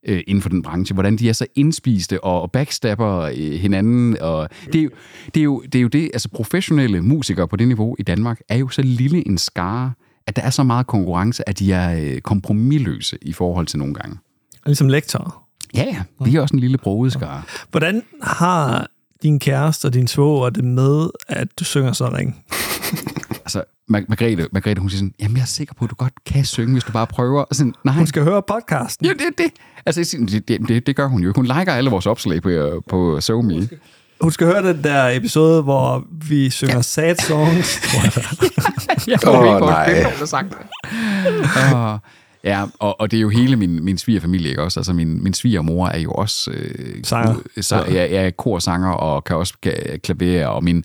Speaker 3: øh, inden for den branche. Hvordan de er så indspiste og, og backstabber øh, hinanden. Og det, er jo, det, er jo, det er jo det, altså professionelle musikere på det niveau i Danmark er jo så lille en skare, at der er så meget konkurrence, at de er øh, kompromilløse i forhold til nogle gange.
Speaker 2: Ligesom lektorer.
Speaker 3: Ja, ja, vi er også en lille broget skare.
Speaker 2: Hvordan har din kæreste og din svoger det med, at du synger sådan, ikke?
Speaker 3: Altså, Mar- Margrethe, Margrethe, hun siger sådan, jamen jeg er sikker på, at du godt kan synge, hvis du bare prøver. Og sådan, nej,
Speaker 2: Hun skal høre podcasten.
Speaker 3: Ja, det er det. Altså, jeg siger, det, det, det, det gør hun jo ikke. Hun liker alle vores opslag på, øh, på SoMe.
Speaker 2: Hun skal høre den der episode, hvor vi synger ja. sad
Speaker 4: *laughs*
Speaker 2: songs.
Speaker 3: Jeg
Speaker 4: Åh, nej.
Speaker 3: har sagt det. Ja, og, og det er jo hele min, min svigerfamilie, ikke også? Altså, min, min svigermor er jo også... Øh,
Speaker 2: Sanger.
Speaker 3: Så, ja, jeg er korsanger og kan også ka- klavere, og min,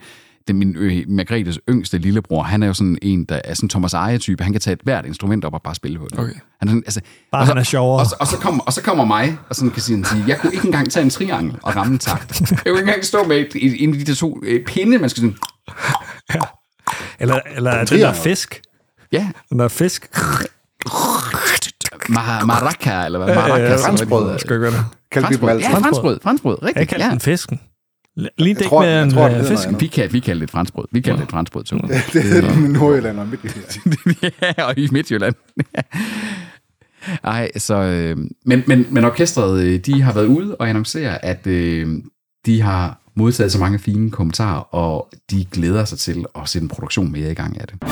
Speaker 3: den, min øh, Margrethes yngste lillebror, han er jo sådan en, der er sådan Thomas Eje-type. Han kan tage et hvert instrument op og bare spille på det. Okay. Han er sådan, altså,
Speaker 2: Bare
Speaker 3: og så,
Speaker 2: han er sjovere.
Speaker 3: Og så, og, så kommer, og så kommer mig, og sådan kan sådan sige, jeg kunne ikke engang tage en triangel og ramme en takt. Jeg kunne ikke engang stå med et, et, en af de der to øh, pinde, man skal sådan...
Speaker 2: Eller, eller den der fisk.
Speaker 3: Ja,
Speaker 2: Den der fisk.
Speaker 3: Mar- maraca, eller hvad? Maraca,
Speaker 2: ja,
Speaker 3: eller hvad de
Speaker 4: franskbrød.
Speaker 3: hedder.
Speaker 2: Skal jeg gøre Øh, det?
Speaker 4: Kan vi dem
Speaker 3: Franskbrød,
Speaker 4: alle
Speaker 3: ja,
Speaker 4: sammen?
Speaker 3: franskbrød, franskbrød,
Speaker 2: Jeg
Speaker 3: rigtigt.
Speaker 2: kaldte
Speaker 3: Ja.
Speaker 2: den fisken. Lige dæk
Speaker 4: tror,
Speaker 2: med
Speaker 4: jeg
Speaker 2: en
Speaker 4: tror, den
Speaker 2: øh,
Speaker 4: hedder
Speaker 2: fisk.
Speaker 4: noget andet.
Speaker 3: Vi, kaldte, vi kaldte det et franskbrød. Vi kaldte det et franskbrød, Tone.
Speaker 4: *laughs* Det hedder Nordjylland og Midtjylland.
Speaker 3: ja, *laughs* og i Midtjylland. *laughs* Ej, så... Øh, men, men, men orkestret, øh, de har været ude og annoncere, at øh, de har modtaget så mange fine kommentarer, og de glæder sig til at sætte en produktion mere i gang af det.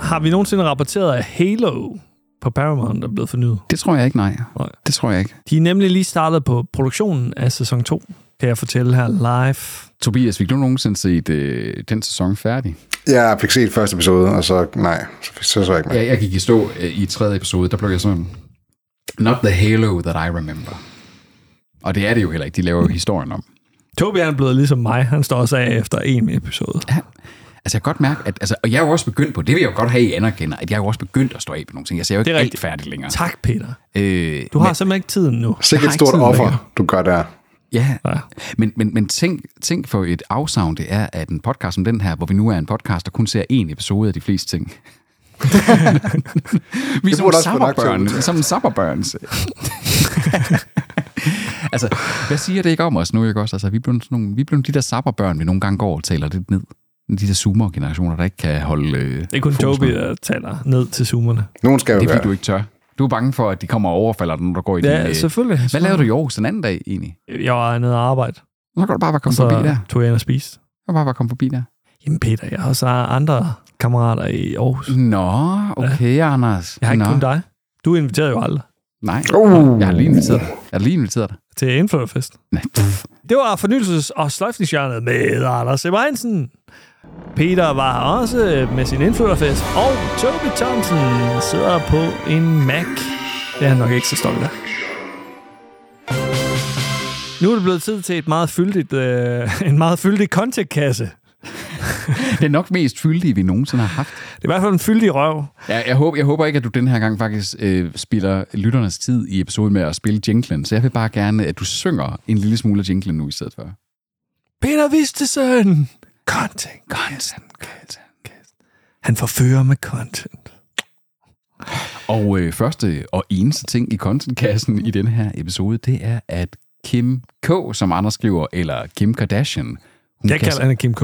Speaker 2: Har vi nogensinde rapporteret, at Halo på Paramount er blevet fornyet?
Speaker 3: Det tror jeg ikke, nej.
Speaker 2: Nej.
Speaker 3: Det tror jeg ikke.
Speaker 2: De er nemlig lige startet på produktionen af sæson 2, kan jeg fortælle her live.
Speaker 3: Tobias, fik du nogensinde set øh, den sæson færdig?
Speaker 4: Jeg fik set første episode, og så nej, så så, så jeg ikke med.
Speaker 3: Ja, jeg gik i stå øh, i tredje episode, der blev jeg sådan, not the halo that I remember. Og det er det jo heller ikke, de laver jo historien om.
Speaker 2: Tobi han er blevet ligesom mig. Han står også af efter en episode.
Speaker 3: Altså jeg kan godt mærke, at, altså, og jeg er jo også begyndt på, det vil jeg jo godt have, I anerkender, at jeg er jo også begyndt at stå af på nogle ting. Altså, Jeg
Speaker 2: Det
Speaker 3: ser jo ikke
Speaker 2: er
Speaker 3: alt
Speaker 2: rigtigt.
Speaker 3: færdigt længere.
Speaker 2: Tak, Peter.
Speaker 3: Øh,
Speaker 2: Du har men, simpelthen ikke tiden nu.
Speaker 4: Sikke
Speaker 3: Jeg
Speaker 4: et
Speaker 3: har
Speaker 4: stort
Speaker 3: ikke tid,
Speaker 4: offer, du gør der.
Speaker 3: Ja,
Speaker 2: Ja.
Speaker 3: men, men, men tænk, tænk for et afsavn, det er, at en podcast som den her, hvor vi nu er en podcast, der kun ser én episode af de fleste
Speaker 4: *laughs*
Speaker 3: ting. vi er
Speaker 4: burde
Speaker 3: som
Speaker 4: også få lagt til at *laughs*
Speaker 3: sabberbørn.
Speaker 4: udtale.
Speaker 3: Som sabberbørns. altså, hvad siger det ikke om os nu, ikke også? Altså, vi er blevet, sådan nogle, vi er blevet de der sapperbørn, vi nogle gange går og taler lidt ned. De der zoomer-generationer, der ikke kan holde... Øh,
Speaker 2: Det er kun
Speaker 3: fokus
Speaker 2: Tobi,
Speaker 3: ned.
Speaker 2: der taler ned til zoomerne.
Speaker 4: Nogen skal jo
Speaker 3: Det er
Speaker 4: gøre
Speaker 3: fordi, du ikke tør. Du er bange for, at de kommer og overfalder dig, når du går i din...
Speaker 2: Ja,
Speaker 3: øh,
Speaker 2: selvfølgelig.
Speaker 3: Hvad lavede du i Aarhus den anden dag, egentlig?
Speaker 2: Jeg var nede og arbejde,
Speaker 3: Så kan du bare være
Speaker 2: og
Speaker 3: kommet
Speaker 4: Altså-
Speaker 2: så
Speaker 3: forbi der.
Speaker 2: tog jeg ind og spiste.
Speaker 3: Du kan bare være kommet forbi der.
Speaker 2: Jamen Peter, jeg har også andre kammerater i Aarhus.
Speaker 3: Nå, okay, ja. Anders.
Speaker 2: Jeg har ikke
Speaker 3: Nå.
Speaker 2: kun dig. Du inviterer jo aldrig
Speaker 3: Nej,
Speaker 4: Uh.
Speaker 3: jeg har lige inviteret dig. Jeg har lige inviteret dig.
Speaker 2: til Indflytterfest.
Speaker 3: Nej, pff.
Speaker 2: Det var fornyelses- og sløjfningsjørnet med Anders Simmer Hansen. Peter var også med sin indflytterfest, og Toby Thompson sidder på en Mac. Det er han nok ikke så stolt af. Nu er det blevet tid til et meget fyldigt, øh, en meget fyldig contentkasse.
Speaker 3: Det er nok mest fyldige, vi nogensinde har haft.
Speaker 2: Det er i hvert fald en fyldig røv.
Speaker 3: Jeg, jeg, håber, jeg håber ikke, at du den her gang faktisk øh, spiller lytternes tid i episoden med at spille jinglen. Så jeg vil bare gerne, at du synger en lille smule af jinglen nu i stedet for.
Speaker 2: Peter Vistesen! Content.
Speaker 3: Content, content.
Speaker 2: Han forfører med content.
Speaker 3: Og øh, første og eneste ting i contentkassen i den her episode, det er, at Kim K., som Anders skriver, eller Kim Kardashian, hun
Speaker 2: Jeg kalder hende Kim K.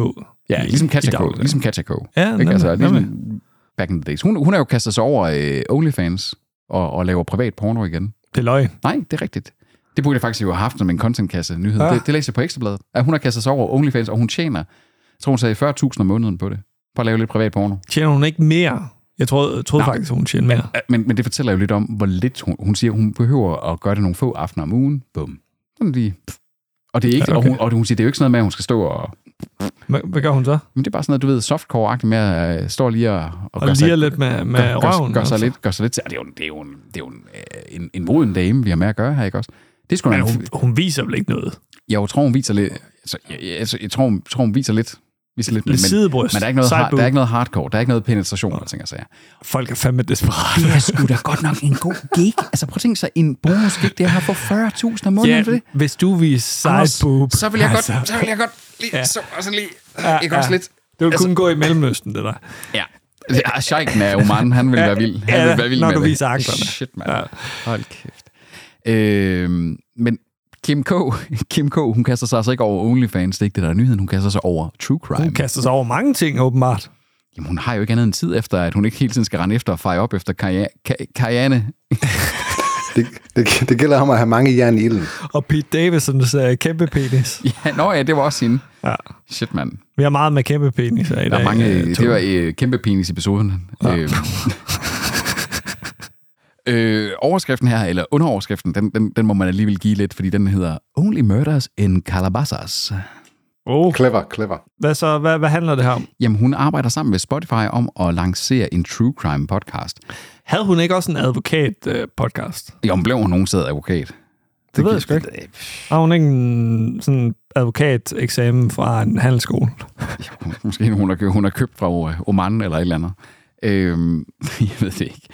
Speaker 3: Ja,
Speaker 2: I-
Speaker 3: ligesom
Speaker 2: i
Speaker 3: Katja
Speaker 2: daglig-
Speaker 3: K. Ligesom Katja K.
Speaker 2: Ja,
Speaker 3: Ikke?
Speaker 2: nemlig,
Speaker 3: Altså,
Speaker 2: nemlig.
Speaker 3: ligesom back in the days. Hun, hun har jo kastet sig over øh, OnlyFans og, og laver privat porno igen.
Speaker 2: Det er løgn.
Speaker 3: Nej, det er rigtigt. Det burde jeg faktisk jo have haft som en contentkasse nyhed.
Speaker 2: Ja.
Speaker 3: Ja. Det, det læser jeg på Ekstrabladet. At hun har kastet sig over OnlyFans, og hun tjener, jeg tror hun sagde 40.000 om måneden på det. For at lave lidt privat porno.
Speaker 2: Tjener hun ikke mere? Jeg troede, troede
Speaker 3: Nej.
Speaker 2: faktisk, hun tjener mere.
Speaker 3: Ja, Men, men det fortæller jo lidt om, hvor lidt hun, hun siger, hun behøver at gøre det nogle få aftener om ugen. Bum. Sådan lige. pff. Og, det er ikke,
Speaker 2: Ja,
Speaker 3: ja,
Speaker 2: okay.
Speaker 3: okay. og, hun, og hun siger, det er jo ikke sådan noget med, at hun skal stå og...
Speaker 2: Hvad, hvad gør hun så?
Speaker 3: Men det er bare sådan noget, du ved, softcore-agtigt med at øh, stå lige og, og,
Speaker 2: Og liger lidt med, med
Speaker 3: gør,
Speaker 2: røven?
Speaker 3: Gør, gør, sig
Speaker 2: altså.
Speaker 3: lidt, gør sig lidt til. Det er jo, en- det er jo, en, det er jo en, øh, en, en moden dame, vi har med at gøre her, ikke også? Det skulle
Speaker 2: Men
Speaker 3: hun...
Speaker 2: hun, hun viser vel ikke noget?
Speaker 3: Jeg tror, hun viser lidt... Altså, jeg, jeg, altså, jeg tror, hun, tror, hun viser lidt. Viser lidt,
Speaker 2: Lidt sidebryst.
Speaker 3: men der er, ikke noget,
Speaker 2: side
Speaker 3: har, der
Speaker 2: boob.
Speaker 3: er ikke noget hardcore, der er ikke noget penetration, og ting og sager.
Speaker 2: Folk er fandme desperate.
Speaker 3: Det er sgu da godt nok en god gig. Altså prøv at tænke sig, en bonus gig, det er her for 40.000 om måneden for det.
Speaker 2: hvis du viser
Speaker 3: Anders,
Speaker 2: side boob, Altså.
Speaker 3: Så vil jeg godt, så vil jeg godt lige,
Speaker 2: Ja.
Speaker 3: ja. så, og sådan lige,
Speaker 2: Ja,
Speaker 3: ikke også
Speaker 2: ja.
Speaker 3: lidt.
Speaker 2: Det vil
Speaker 3: Altså-
Speaker 2: kun gå i Mellemøsten, det der.
Speaker 3: Ja. Ja, Sjejken af Oman, han ville
Speaker 2: Ja,
Speaker 3: være vild. Han
Speaker 2: ja,
Speaker 3: ville være vild
Speaker 2: når
Speaker 3: med
Speaker 2: du
Speaker 3: det.
Speaker 2: viser aklerne.
Speaker 3: Shit, mand.
Speaker 2: Ja.
Speaker 3: Ja. Hold kæft. Øhm, men Kim K, *laughs* Kim K, hun kaster sig altså ikke over OnlyFans, det er ikke det, der er nyheden. Hun kaster sig over True Crime.
Speaker 2: Hun kaster sig over mange ting, åbenbart.
Speaker 3: Jamen, hun har jo ikke andet end tid efter, at hun ikke hele tiden skal rende efter og feje op efter Kaja- Ka- Kajane. *laughs*
Speaker 4: Det, det, det gælder om at have mange jern i ilden.
Speaker 2: Og Pete Davidsons uh, kæmpe penis.
Speaker 3: Ja, nå ja, det var også hende.
Speaker 2: Ja.
Speaker 3: Shit, mand.
Speaker 2: Vi har meget med kæmpe penis i dag.
Speaker 3: Der er mange,
Speaker 2: øh,
Speaker 3: det
Speaker 2: Tobi.
Speaker 3: var øh, kæmpe penis i episoden. Ja. Øh, øh, overskriften her, eller underoverskriften, den, den, den må man alligevel give lidt, fordi den hedder Only Murders in Calabasas.
Speaker 2: Oh,
Speaker 4: Clever, clever.
Speaker 2: hvad, så, hvad, hvad handler det her om?
Speaker 3: Jamen, hun arbejder sammen med Spotify om at lancere en true crime podcast.
Speaker 2: Havde hun ikke også en øh, advokat-podcast?
Speaker 3: Jo, men blev hun nogensinde advokat? Det, Øh,
Speaker 2: ved jeg sgu ikke. Har hun ikke en sådan advokateksamen fra en handelsskole?
Speaker 3: *laughs* Måske hun har, hun har købt fra øh, Oman eller et eller andet. Øhm, *laughs* jeg ved det ikke.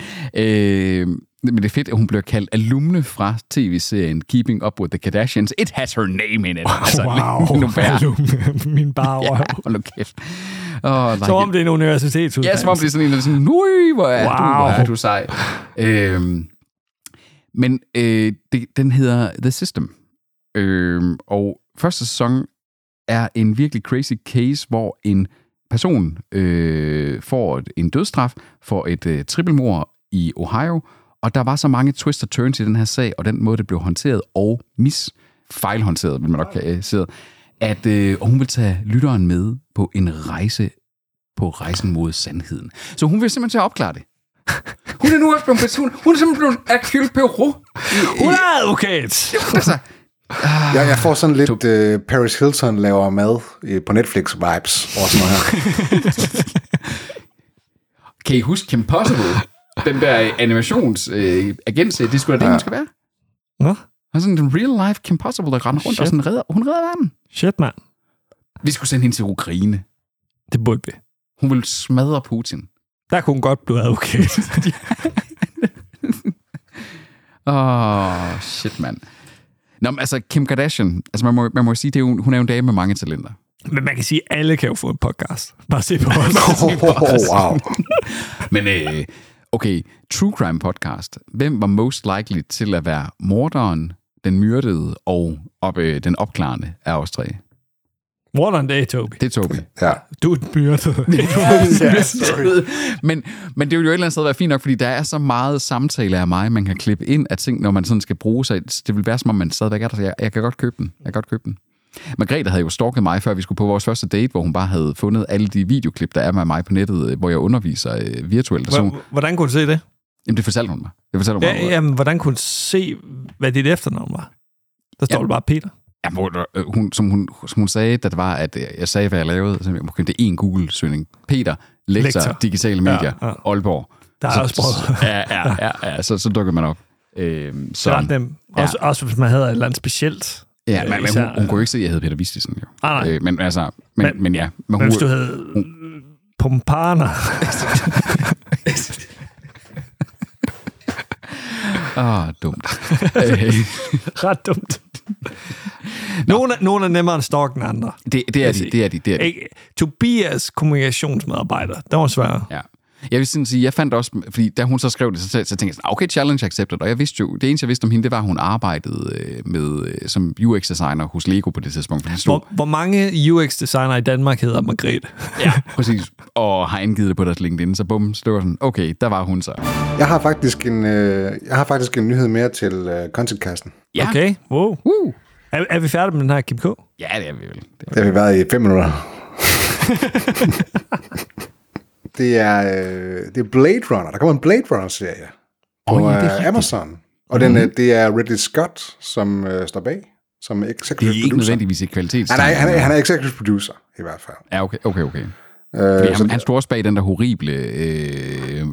Speaker 3: Øhm, men det er fedt, at hun bliver kaldt alumne fra tv-serien Keeping Up With The Kardashians. It has her name in it.
Speaker 2: *laughs*
Speaker 3: Wow, *laughs* nu bærer.
Speaker 2: min bare
Speaker 3: Ja,
Speaker 2: røv.
Speaker 3: hold nu kæft. Oh,
Speaker 2: Som om det er en universitetsuddannelse.
Speaker 3: Ja, som om det er sådan en, der er sådan, Ui, hvor er wow. du, hvor
Speaker 2: Wow.
Speaker 3: er du sej. Øhm, men øh, det, den hedder The System. Øhm, og første sæson er en virkelig crazy case, hvor en person øh, får et- en dødsstraf for et øh, trippelmord i Ohio, og der var så mange twists og turns i den her sag, og den måde, det blev håndteret og mis fejlhåndteret, vil man nok øh, sige, at øh, og hun vil tage lytteren med på en rejse på rejsen mod sandheden. Så hun vil simpelthen til at opklare det. *laughs* Hun er nu også blevet, hun, hun er simpelthen blevet Hercule Perot.
Speaker 2: Hun er advokat!
Speaker 3: *laughs* Altså,
Speaker 4: Jeg, jeg får sådan lidt øh, Paris Hilton laver mad øh, på Netflix-vibes over
Speaker 2: *laughs*
Speaker 4: sådan noget her.
Speaker 3: kan I huske Kim Possible? Den der animations øh, agentse, det skulle da det, hun skal være.
Speaker 2: Nå,
Speaker 3: Og sådan en real life Kim Possible, der render rundt Shit. og sådan redder, hun redder verden.
Speaker 2: shit, mand.
Speaker 3: Vi skulle sende hende til Ukraine.
Speaker 2: Det burde vi.
Speaker 3: Hun ville smadre Putin.
Speaker 2: Der kunne hun godt blive
Speaker 3: *laughs*
Speaker 2: advokat.
Speaker 3: Åh, oh, shit, mand. Nå, men altså, Kim Kardashian, altså man må, man må jo sige, det er jo, hun er jo en dame med mange talenter.
Speaker 2: Men man kan sige, at alle kan jo få en podcast. Bare se
Speaker 3: *laughs*
Speaker 2: på os. *laughs*
Speaker 4: Oh, wow.
Speaker 3: Men øh, okay, True Crime Podcast. Hvem var most likely til at være morderen, den myrdede og op, øh, den opklarende er os tre.
Speaker 2: What on day, Toby.
Speaker 3: Det er Tobi.
Speaker 4: Ja.
Speaker 2: Du er et *laughs* byrde.
Speaker 4: *laughs*
Speaker 3: *laughs* Ja, men, men det vil jo et eller andet sted være fint nok, fordi der er så meget samtale af mig, man kan klippe ind af ting, når man sådan skal bruge sig. Det vil være som om, man stadigvæk er der. så Jeg, jeg kan godt købe den. Jeg kan godt købe den. Margrethe havde jo stalket mig, før vi skulle på vores første date, hvor hun bare havde fundet alle de videoklip, der er med mig på nettet, øh, hvor jeg underviser øh, virtuelt. Og så,
Speaker 2: Hvor- Hvordan kunne du se det?
Speaker 3: jamen, det fortalte hun mig. Det fortalte hun mig.
Speaker 2: Ja, jamen, hvordan kunne du se, hvad dit efternavn var? Der står
Speaker 3: Ja.
Speaker 2: ja. bare Peter.
Speaker 3: Ja, hvor, der- øh, hun, som, hun, som hun sagde, da det var, at øh, jeg sagde, hvad jeg lavede, så jeg begyndte én Google-søgning. Peter, lektor,
Speaker 2: Lektor.
Speaker 3: digitale medier,
Speaker 2: ja.
Speaker 3: ja, ja. Aalborg.
Speaker 2: Der er
Speaker 3: så,
Speaker 2: også prøvet.
Speaker 3: *laughs* Ja, ja, ja, ja så, så dukkede man op. Øhm,
Speaker 2: Det
Speaker 3: så,
Speaker 2: er ret nemt.
Speaker 3: Ja.
Speaker 2: Også, også hvis man havde et eller andet specielt.
Speaker 3: ja, men, men
Speaker 2: Især-
Speaker 3: hun, hun kunne jo ikke se, at jeg hed Peter Vistisen, jo.
Speaker 2: Nej, nej.
Speaker 3: Øh, men altså, men, men,
Speaker 2: Men-
Speaker 3: men ja. Men
Speaker 2: Men
Speaker 3: hun,
Speaker 2: hvis du havde Pompaner.
Speaker 3: Åh, Ah, dumt. Øh, *laughs*
Speaker 2: ret dumt. Nogle, er- nogle er nemmere at stalke end andre.
Speaker 3: det, det er de, det er de, det er de.
Speaker 2: Ikke? Tobias kommunikationsmedarbejder, det var svært.
Speaker 3: Ja. Jeg vil sådan sige, jeg fandt også, fordi da hun så skrev det, så, så tænkte jeg sådan, "Ah, okay, challenge accepted. Og jeg vidste jo, det eneste jeg vidste om hende, det var, at hun arbejdede øh, med, øh, som UX-designer hos Lego på det tidspunkt. Hun stod,
Speaker 2: Hvor, hvor mange UX-designer i Danmark hedder Margrethe?
Speaker 3: ja, præcis, og har indgivet det på deres LinkedIn, så bum, så det var sådan, okay, der var hun så.
Speaker 4: Jeg har faktisk en, øh, jeg har faktisk en nyhed mere til øh, contentkassen.
Speaker 2: *laughs*
Speaker 3: Ja.
Speaker 2: Okay, wow.
Speaker 3: Uh.
Speaker 2: Er, er vi færdige med den her Kim K?
Speaker 3: Ja, det er vi vel. Det er-
Speaker 4: Det har vi været i fem
Speaker 2: *laughs*
Speaker 4: minutter. det, er, øh, det er Blade Runner. Der kommer en Blade Runner-serie på
Speaker 3: Åh,
Speaker 4: oh,
Speaker 3: ja, det er
Speaker 4: ja,
Speaker 3: rigtigt. Mhm.
Speaker 4: Amazon. Og den, mm det er Ridley Scott, som øh, står bag, som
Speaker 3: Det
Speaker 4: executive
Speaker 3: er ikke
Speaker 4: producer.
Speaker 3: nødvendigvis et kvalitets.
Speaker 4: Han er, han, er, han er executive producer, i hvert fald.
Speaker 3: Ja, okay, okay, okay.
Speaker 4: Øh,
Speaker 3: Fordi han, han stod også bag den der horrible øh,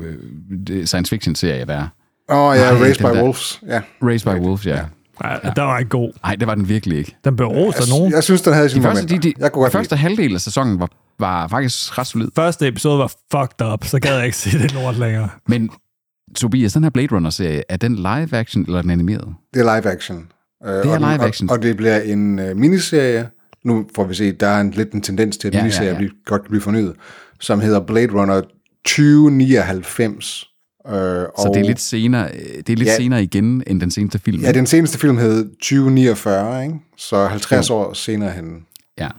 Speaker 3: øh, science fiction-serie, der er.
Speaker 4: Åh oh, ja,
Speaker 3: Nej,
Speaker 4: Raised
Speaker 3: den
Speaker 4: by
Speaker 3: der.
Speaker 4: Wolves. Ja.
Speaker 3: Race by Wolves, ja.
Speaker 2: Nej, ja. der var ikke god.
Speaker 3: Nej, det var den virkelig ikke.
Speaker 2: Den blev rost af nogen.
Speaker 4: Jeg synes, den havde sine
Speaker 3: De første,
Speaker 4: momenter.
Speaker 3: de, de,
Speaker 4: jeg kunne
Speaker 3: de
Speaker 4: godt lide
Speaker 3: første halvdel af sæsonen var, var faktisk ret solid.
Speaker 2: Første episode var fucked up, så gad jeg ikke se det lort længere.
Speaker 3: Men Tobias, den her Blade Runner-serie, er den live action eller er den animeret?
Speaker 4: Det er live action. Øh,
Speaker 3: er
Speaker 4: og den-
Speaker 3: live action.
Speaker 4: Og, og det bliver en øh, miniserie. Nu får vi se, der er en, lidt en tendens til, at
Speaker 3: Ja, ja,
Speaker 4: ja, miniserier
Speaker 3: ja.
Speaker 4: ja, ja. godt kan blive fornyet, som hedder Blade Runner 2099. Øh,
Speaker 3: Så det er lidt senere, øh, det er lidt ja.
Speaker 4: Ja.
Speaker 3: senere igen end den seneste film.
Speaker 4: Ja, den seneste film hed 2049, ikke? så 50 år senere hen.
Speaker 3: ja.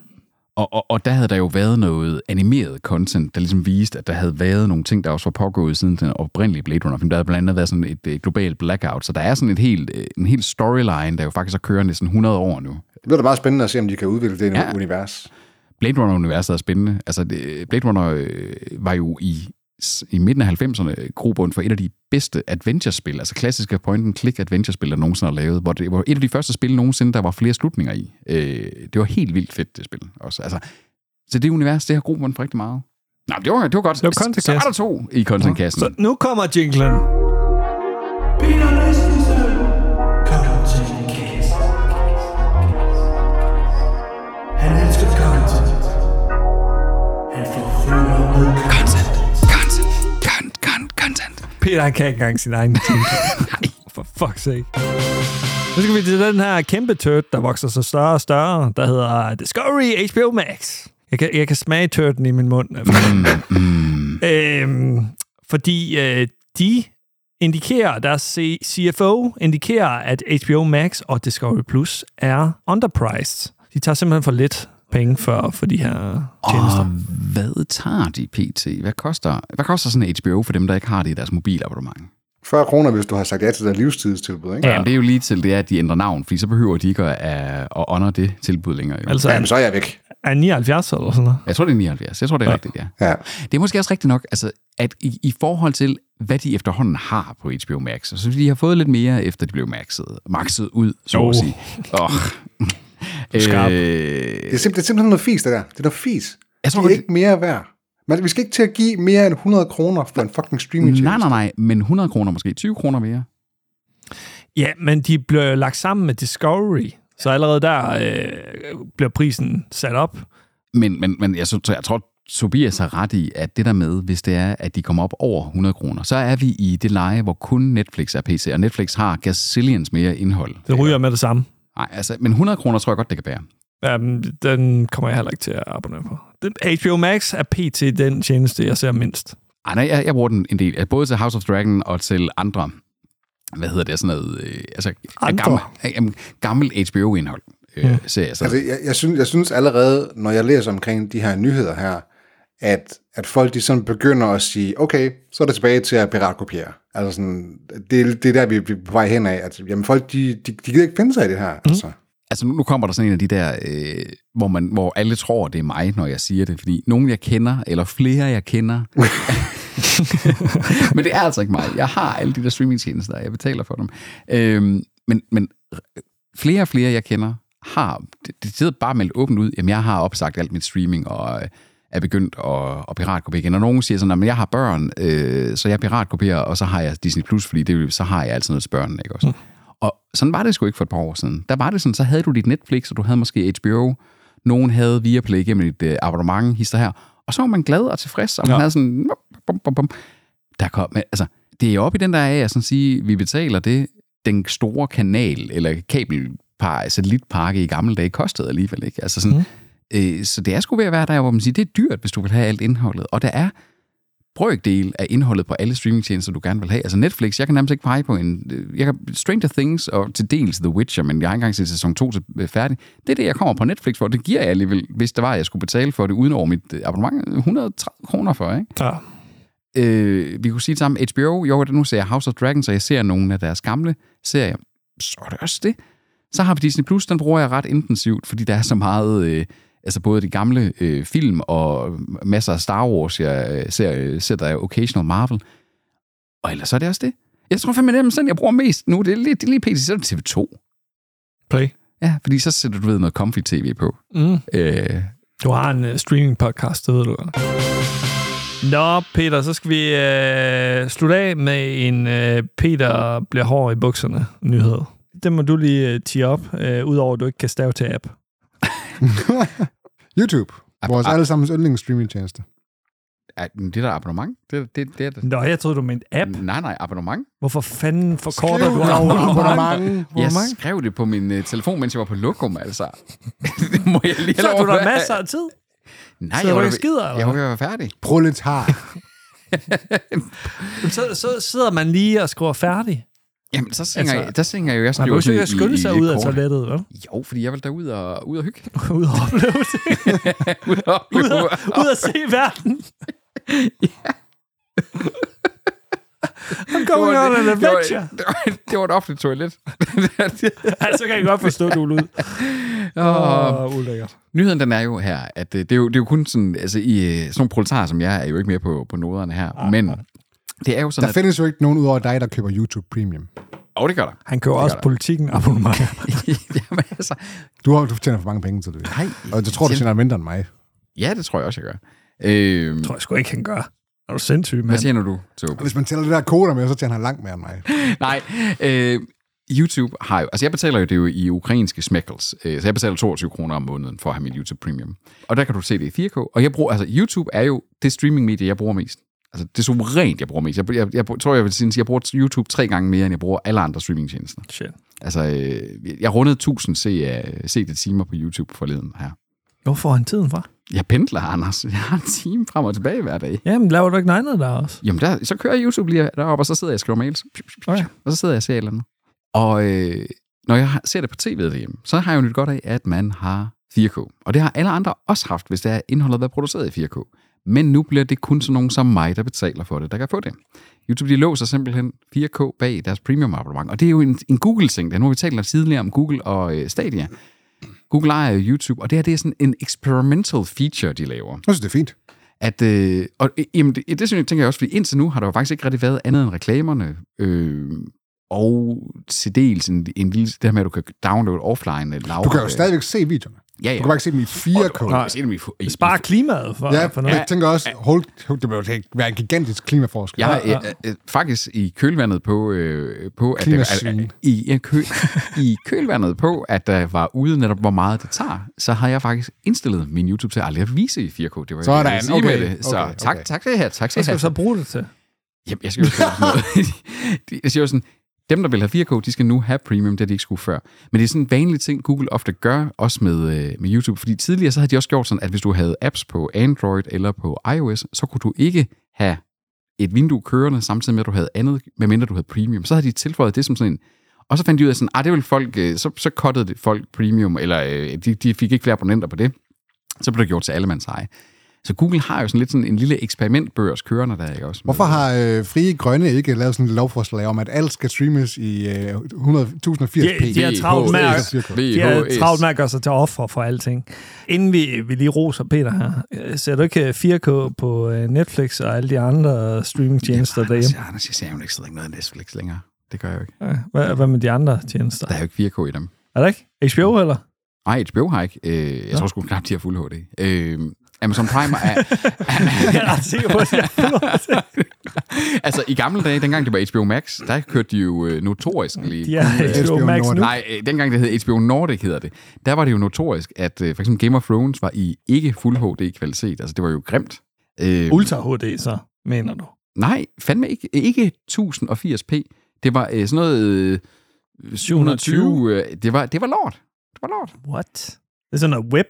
Speaker 3: Og, og, og der havde der jo været noget animeret content, der ligesom viste, at der havde været nogle ting, der også var pågået siden den oprindelige Blade Runner-film. Der havde blandt andet været sådan et øh, globalt blackout, så der er sådan et helt, øh, en helt storyline, der jo faktisk er kørende i sådan 100 år nu.
Speaker 4: Det bliver da meget spændende at se, om de kan udvikle det
Speaker 3: Ja.
Speaker 4: ja. univers.
Speaker 3: Blade Runner-universet er spændende. Altså, det, Blade Runner øh, var jo i, i midten af 90'erne grobund for et af de bedste adventure-spil, altså klassiske point-and-click adventure-spil, der nogensinde er lavet, hvor det var et af de første spil nogensinde, der var flere slutninger i. Øh, det var helt vildt fedt, det spil også. Altså, så det univers, det har grobund for rigtig meget. Nej, det var, det var godt.
Speaker 2: var
Speaker 3: Så- så er
Speaker 2: Contentkassen.
Speaker 3: der to i contentkassen.
Speaker 2: Så nu kommer jinglen.
Speaker 5: Peter Christensen. Content Cast. Han elsker content. Han får følger med content.
Speaker 3: Content, con, con, content.
Speaker 2: Peter han kan ikke engang sin egen
Speaker 4: *laughs*
Speaker 2: jingle. For fuck's sake. Nu skal vi til den her kæmpe tørt, der vokser sig større og større, der hedder Discovery HBO Max. Jeg kan, jeg kan smage tørten i min mund.
Speaker 4: Mm,
Speaker 2: øhm, fordi øh, de indikerer, deres C- CFO indikerer, at HBO Max og Discovery Plus er underpriced. De tager simpelthen for lidt penge for, for de her tjenester.
Speaker 3: Og hvad tager de pt? Hvad koster, hvad koster sådan en HBO for dem, der ikke har det i deres mobilabonnement?
Speaker 4: 40 kroner, hvis du har sagt ja til det livstidstilbud, ikke?
Speaker 3: Ja, men det er jo lige til det, at de ændrer navn, fordi så behøver de ikke at, øh, at honor det tilbud længere. Jo.
Speaker 2: Altså,
Speaker 4: Ja, Jamen, så er jeg væk.
Speaker 2: er 79 eller sådan noget?
Speaker 3: Jeg tror, det er 79. Jeg tror, det er ja. rigtigt, ja.
Speaker 4: Ja.
Speaker 3: Det er måske også rigtigt nok, altså, at i, i forhold til, hvad de efterhånden har på HBO Max, så de har fået lidt mere, efter de blev maxet, maxet ud, så
Speaker 2: Jo.
Speaker 3: at sige.
Speaker 2: *laughs*
Speaker 3: Øh, Oh.
Speaker 2: Skarp.
Speaker 4: Det er, simpelthen, det er simpelthen noget fis, det der. Det er noget fis.
Speaker 3: Jeg
Speaker 4: Jeg
Speaker 3: tror,
Speaker 4: tror, de er
Speaker 3: det-
Speaker 4: ikke mere værd. Men vi skal ikke til at give mere end 100 kroner for en fucking streaming
Speaker 3: nej, nej, nej, men 100 kroner måske, 20 kroner mere.
Speaker 2: Ja, men de blev jo lagt sammen med Discovery, så allerede der øh, bliver prisen sat op.
Speaker 3: Men, men, men jeg, så, så jeg tror, Tobias har ret i, at det der med, hvis det er, at de kommer op over 100 kroner, så er vi i det leje, hvor kun Netflix er PC, og Netflix har gazillions mere indhold.
Speaker 2: Det ryger med det samme.
Speaker 3: Nej, altså, men 100 kroner tror jeg godt, det kan bære.
Speaker 2: Um, den kommer jeg heller ikke til at abonnere på. Den, HBO Max er pt. den tjeneste, jeg ser mindst.
Speaker 3: Øh, Ej, nej, jeg, jeg bruger den en del. Både til House of Dragon og til andre. hvad hedder det, sådan noget, øh, altså
Speaker 2: Andre.
Speaker 3: gammel, øh, gammel HBO-indhold. Øh, mm. serier, så,
Speaker 4: Altså, jeg, jeg, synes, jeg synes allerede, når jeg læser omkring de her nyheder her, at, at folk de sådan begynder at sige, okay, så er det tilbage til at piratkopiere. Altså sådan, det, det er der, vi, vi er på vej hen af. At, jamen folk, de, de, de gider ikke finde sig i det her. Mm. Altså.
Speaker 3: altså nu, nu kommer der sådan en af de der, øh, hvor, man, hvor alle tror, det er mig, når jeg siger det, fordi nogen jeg kender, eller flere jeg kender, *laughs* men det er altså ikke mig. Jeg har alle de der streamingtjenester, og jeg betaler for dem. Øhm, men, men flere og flere, jeg kender, har det, det sidder bare meldt åbent ud, jamen jeg har opsagt alt mit streaming, og øh, er begyndt at, at piratkopiere igen. Og nogen siger sådan, at jeg har børn, øh, så jeg piratkopierer, og så har jeg Disney+, Plus, fordi det, så har jeg altid noget til børnene, ikke også? Mm. Og sådan var det sgu ikke for et par år siden. Der var det sådan, så havde du dit Netflix, og du havde måske HBO, nogen havde Viaplay gennem et øh, abonnement, hister her, og så var man glad og tilfreds, og man ja. havde sådan, bum, bum, bum. Der kom, men altså, det er oppe i den der af, at sådan sige, vi betaler det, den store kanal, eller kabelpar, satellitpakke i gamle dage kostede alligevel, ikke? Altså sådan, mm. øh, så det er sgu ved at være der, hvor man siger, det er dyrt, hvis du vil have alt indholdet, og der er brøkdel af indholdet på alle streamingtjenester, du gerne vil have. Altså Netflix, jeg kan nærmest ikke pege på en... øh, Jeg kan, Stranger Things og til dels The Witcher, men jeg har ikke engang set sæson 2 til, øh, færdig. Det er det, jeg kommer på Netflix for. Det giver jeg alligevel, hvis der var, at jeg skulle betale for det uden over mit øh, abonnement. 130 kroner for, ikke?
Speaker 2: Ja.
Speaker 3: Øh, vi kunne sige det samme. HBO, jo, nu ser jeg House of Dragons, og jeg ser nogle af deres gamle serier. Så er det også det. Så har vi Disney+, Plus, den bruger jeg ret intensivt, fordi der er så meget... Øh, altså både de gamle øh, film og masser af Star Wars, jeg øh, ser, øh, ser der er occasional Marvel. Og ellers er det også det. Jeg tror fandme, det er dem sådan, jeg bruger mest nu. Det er lige, det er lige pt. Så er det TV2.
Speaker 2: Play.
Speaker 3: Ja, fordi så sætter du du ved noget comfy tv på.
Speaker 2: Mm.
Speaker 3: Øh,
Speaker 2: Du har en uh, streaming-podcast, det ved du godt. Nå, Peter, så skal vi øh, slutte af med en øh, Peter bliver hård i bukserne nyhed. Det må du lige øh, tige op, øh, udover at du ikke kan stave til app.
Speaker 6: YouTube, vores allesammens yndlingsstreamingtjeneste.
Speaker 3: er- det der abonnement, det, det, det er det.
Speaker 2: Nå, jeg troede, du mente app.
Speaker 3: Nej, nej, abonnement.
Speaker 2: Hvorfor fanden forkorter du
Speaker 6: abonnement.
Speaker 3: Jeg skrev det på min uh, telefon, mens jeg var på lokum, altså. *laughs* det må jeg lige
Speaker 2: Så
Speaker 3: have
Speaker 2: har
Speaker 3: lov
Speaker 2: du da
Speaker 3: at-
Speaker 2: masser af tid.
Speaker 3: Nej,
Speaker 2: sidder
Speaker 3: jeg
Speaker 2: du
Speaker 3: var,
Speaker 2: og skider, eller
Speaker 3: jeg var ved at være færdig.
Speaker 6: Proletar.
Speaker 2: Så, så sidder man lige og skriver færdig.
Speaker 3: Jamen, så synger,
Speaker 2: Altså,
Speaker 3: altså, jeg, der synger jeg jo... Jeg
Speaker 2: Man
Speaker 3: skriver
Speaker 2: behøver ikke at
Speaker 3: sådan
Speaker 2: skynde
Speaker 3: i-
Speaker 2: sig
Speaker 3: i
Speaker 2: ud af
Speaker 3: kort.
Speaker 2: toilettet, vel?
Speaker 3: Jo, fordi jeg vil derud og, ud og hygge.
Speaker 2: *laughs*
Speaker 3: *laughs*
Speaker 2: Ud og opleve det.
Speaker 3: ud og
Speaker 2: Ud og, ud og se
Speaker 3: *laughs*
Speaker 2: verden. I'm going on an
Speaker 3: det, var,
Speaker 2: adventure.
Speaker 3: *laughs* det, var, det var et offentligt toilet. *laughs*
Speaker 2: Ja, så kan jeg godt forstå, du er ud. *laughs*
Speaker 3: Åh,
Speaker 2: Åh, ulækkert.
Speaker 3: Nyheden den er jo her, at øh, det er jo, det er jo kun sådan, altså i øh, sådan nogle proletarer som jeg, er jo ikke mere på, på noderne her, men det er jo sådan,
Speaker 6: Der findes jo ikke nogen udover dig, der køber YouTube Premium.
Speaker 3: at... Åh, det gør der.
Speaker 2: Han kører også politikken *laughs* abonnement.
Speaker 3: *laughs* Jamen, altså,
Speaker 6: Du, har, du tjener for mange penge til det.
Speaker 3: nej.
Speaker 6: Og jeg tror, du tjener mindre end mig.
Speaker 3: Ja, det tror jeg også, jeg gør. Øh,
Speaker 2: tror jeg sgu ikke, han gør. Er du sindssyg,
Speaker 3: hvad
Speaker 2: mand?
Speaker 3: tjener du, Tobe?
Speaker 6: Og hvis man tæller det der koder med, så tjener han langt mere end mig.
Speaker 3: *laughs* Nej, øh, YouTube har jo... Altså, jeg betaler jo det jo i ukrainske smækkels, øh, så jeg betaler 22 kroner om måneden for at have min YouTube Premium. Og der kan du se det i 4K. Og jeg bruger... Altså, YouTube er jo det streamingmedie, jeg bruger mest. Altså, det er suverænt, jeg bruger mest. Jeg, jeg, jeg tror, jeg vil sige, at jeg bruger YouTube tre gange mere, end jeg bruger alle andre streamingtjenester.
Speaker 2: Shit.
Speaker 3: Altså, øh, jeg rundede 1000 se, uh, se det timer på YouTube forleden her.
Speaker 2: Hvor får han tiden fra?
Speaker 3: Jeg pendler, Anders. *laughs* Jeg har en time frem og tilbage hver dag.
Speaker 2: Jamen, laver du ikke noget andet der også?
Speaker 3: Jamen, der, så kører jeg YouTube lige deroppe, og så sidder jeg og skriver mails.
Speaker 2: Okay.
Speaker 3: Og så sidder jeg og ser et eller andet. Og øh, når jeg har- ser det på tv derhjemme, så har jeg jo nyt godt af, at man har 4K. Og det har alle andre også haft, hvis det er indholdet har været produceret i 4K. Men nu bliver det kun sådan nogen som mig, der betaler for det, der kan få det. YouTube de låser simpelthen 4K bag i deres premium abonnement. Og det er jo en, en Google-ting. der. Nu har vi talt tidligere om Google og øh, Stadia. Google ejer jo YouTube, og det her det er sådan en experimental feature, de laver
Speaker 6: Jeg synes, det er fint.
Speaker 3: at, øh, og øh, jamen, det, det synes jeg, tænker jeg også, fordi indtil nu har der jo faktisk ikke rigtig været andet end reklamerne, øh, og til dels en, en lille, det her med, at du kan downloade offline. Lav,
Speaker 6: Du kan jo stadigvæk se videoerne.
Speaker 3: ja, ja.
Speaker 6: Du kan bare ikke se dem i 4K.
Speaker 3: Og du- og du kan se dem i fu- i-
Speaker 2: Spar klimaet for,
Speaker 6: Ja,
Speaker 2: for noget.
Speaker 6: jeg tænker også, hold, hold, det må jo ikke være en gigantisk klimaforskel.
Speaker 3: Jeg
Speaker 2: Ja,
Speaker 3: er øh, øh, faktisk i kølvandet på, øh, på at, der, at,
Speaker 6: Klimasvin.
Speaker 3: at i, ja, kø, *laughs* i kølvandet på, at der var ude netop, hvor meget det tager, så har jeg faktisk indstillet min YouTube til aldrig at vise i 4K. Det var
Speaker 6: Sådan.
Speaker 3: jeg ville sige
Speaker 6: Okay,
Speaker 3: med det. Så
Speaker 6: okay,
Speaker 3: tak,
Speaker 6: okay.
Speaker 3: tak til her. Tak
Speaker 2: Hvad skal
Speaker 3: til her.
Speaker 2: du så bruge det til?
Speaker 3: Jamen, jeg skal jo skrive sådan
Speaker 6: *laughs*
Speaker 3: noget. De- Jeg siger jo sådan, dem, der vil have 4K, de skal nu have premium, det de ikke skulle før. Men det er sådan en vanlig ting, Google ofte gør, også med, øh, med YouTube. Fordi tidligere, så havde de også gjort sådan, at hvis du havde apps på Android eller på iOS, så kunne du ikke have et vindue kørende, samtidig med, at du havde andet, medmindre du havde premium. Så havde de tilføjet det som sådan en, og så fandt de ud af sådan, ah, det vil folk, øh, så, så cuttede det folk premium, eller øh, de, de fik ikke flere abonnenter på det. Så blev det gjort til allemands eje. Så Google har jo sådan lidt sådan en lille eksperimentbørs kørende der, ikke også? Med-
Speaker 6: Hvorfor har øh, Frie Grønne ikke lavet sådan et lovforslag om, at alt skal streames i øh, 100 1080p?
Speaker 2: Ja, de har travlt med at, de har
Speaker 3: VHS.
Speaker 2: travlt med at gøre sig til offer for alting. Inden vi, vi lige roser Peter her, øh, ser du ikke 4K på øh, Netflix og alle de andre streamingtjenester derhjemme?
Speaker 3: Anders, Altså, Anders, jeg ser jo ikke sidder ikke noget af Netflix længere. Det gør jeg jo ikke.
Speaker 2: Hvad, hvad med de andre tjenester?
Speaker 3: Der er jo ikke 4K i dem.
Speaker 2: Er der ikke? HBO eller?
Speaker 3: Nej, HBO har ikke. Øh, jeg tror sgu knap, de har fuld HD. Øh, Amazon Prime
Speaker 2: *laughs*
Speaker 3: er...
Speaker 2: Jeg er ret sikker på, at jeg
Speaker 3: altså, i gamle dage, dengang det var HBO Max, der kørte de jo øh, notorisk lige...
Speaker 2: de er HBO
Speaker 6: HBO
Speaker 2: Max
Speaker 6: Nordic.
Speaker 2: nu.
Speaker 3: Nej, øh, dengang det hed HBO Nordic, hedder det. Der var det jo notorisk, at øh, for eksempel Game of Thrones var i ikke fuld HD-kvalitet. Altså, det var jo grimt. Øh,
Speaker 2: Ultra HD så, mener du?
Speaker 3: Nej, fandme ikke. Ikke 1080p. Det var øh, sådan noget... Øh, 720. Øh, det, var, det var lort. Det var lort.
Speaker 2: What? Det er sådan noget web.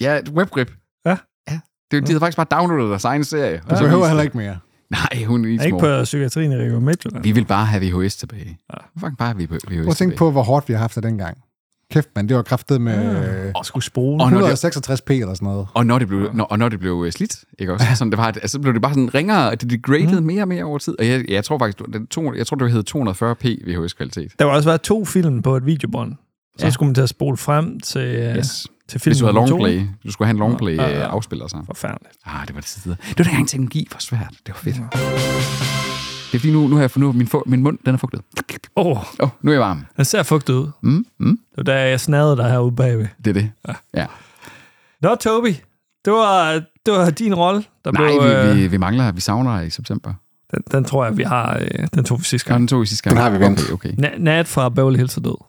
Speaker 3: Ja, et webgrip.
Speaker 2: Ja.
Speaker 3: ja. Det, de havde faktisk bare downloadet deres egen serie. Og
Speaker 6: Så
Speaker 3: så
Speaker 6: behøver
Speaker 3: viste-
Speaker 6: heller ikke mere.
Speaker 3: Nej, hun er
Speaker 2: Er
Speaker 3: ikke
Speaker 2: ikke
Speaker 3: små.
Speaker 2: på psykiatrien i Region Midtjylland?
Speaker 3: Vi vil bare have VHS tilbage. Ja. Fucking bare have VHS
Speaker 6: Prøv at tænke på, hvor hårdt vi har haft det dengang. Kæft, mand, det var kraftet med øh,
Speaker 2: Ah. Og skulle spole.
Speaker 3: Og når det,
Speaker 6: 166p eller sådan noget.
Speaker 3: og når det blev, når, og når det blev øh, slidt, ikke også? Sådan, det var, altså, så blev det bare sådan ringere, og det
Speaker 2: Mm.
Speaker 3: degraded mere og mere over tid. Og jeg, jeg tror faktisk, den to, jeg tror, det hed 240p VHS-kvalitet.
Speaker 2: Der var også været to film på et videobånd. Så
Speaker 3: Ja.
Speaker 2: skulle man til at spole frem til, øh,
Speaker 3: Yes.
Speaker 2: til film
Speaker 3: Hvis du havde
Speaker 2: nummer to.
Speaker 3: longplay, du skulle have en longplay
Speaker 2: Ja, ja, ja.
Speaker 3: øh, afspiller sig.
Speaker 2: Forfærdeligt.
Speaker 3: Ah, det var det tider. Det var dengang teknologi var svært. Det var fedt. Det er fordi, nu, nu har jeg fundet ud af, at min, fu- min mund den er fugtet.
Speaker 2: Åh, oh,
Speaker 3: Åh, oh, nu er jeg varm.
Speaker 2: den ser fugtet ud.
Speaker 3: Mm, mm,
Speaker 2: Det var da jeg snadede dig herude bagved.
Speaker 3: det er det. Ja.
Speaker 2: Nå, Tobi. Det var, det var din rolle, der
Speaker 3: Nej,
Speaker 2: blev... øh,
Speaker 3: vi, vi, vi mangler, vi savner i september.
Speaker 2: Den, den tror jeg, vi har... Øh, den tog vi sidste
Speaker 3: Nå,
Speaker 2: gang.
Speaker 3: den tog i sidste gang.
Speaker 4: Den har vi
Speaker 3: Okay,
Speaker 4: vendt.
Speaker 3: okay.
Speaker 2: Na- Nat fra Beverly Hills er død.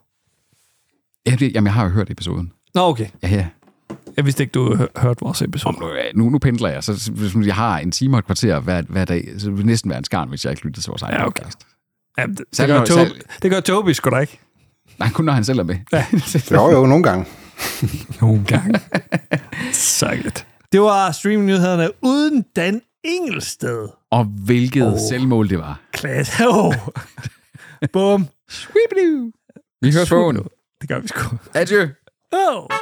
Speaker 3: Ja, det, jamen, jeg har jo hørt episoden.
Speaker 2: Nå, okay.
Speaker 3: Ja, ja.
Speaker 2: Jeg vidste ikke, du hø- hørte vores episode.
Speaker 3: Om nu, øh, nu, nu pendler jeg, så så- hvis jeg har en time og et kvarter hver, hver dag, så vil det næsten være en skarn, hvis jeg ikke lytter til vores egen
Speaker 2: Ja, okay.
Speaker 3: podcast.
Speaker 2: Ja, det, det,
Speaker 3: Særlig
Speaker 2: gør
Speaker 3: når-
Speaker 2: Tobi,
Speaker 3: særlig-
Speaker 2: det gør Tobi sgu da ikke.
Speaker 3: Nej, kun når han selv er med. Ja.
Speaker 4: Jo, jo, nogle gange.
Speaker 2: Nogle *laughs* gange. Sagt. Det var streamingnyhederne uden Dan Engelsted.
Speaker 3: og hvilket oh. selvmål det var.
Speaker 2: Klasse. *laughs* Oh. Bum.
Speaker 3: Vi hører på.
Speaker 2: Det gør vi sgu.
Speaker 3: Adieu.
Speaker 2: Oh.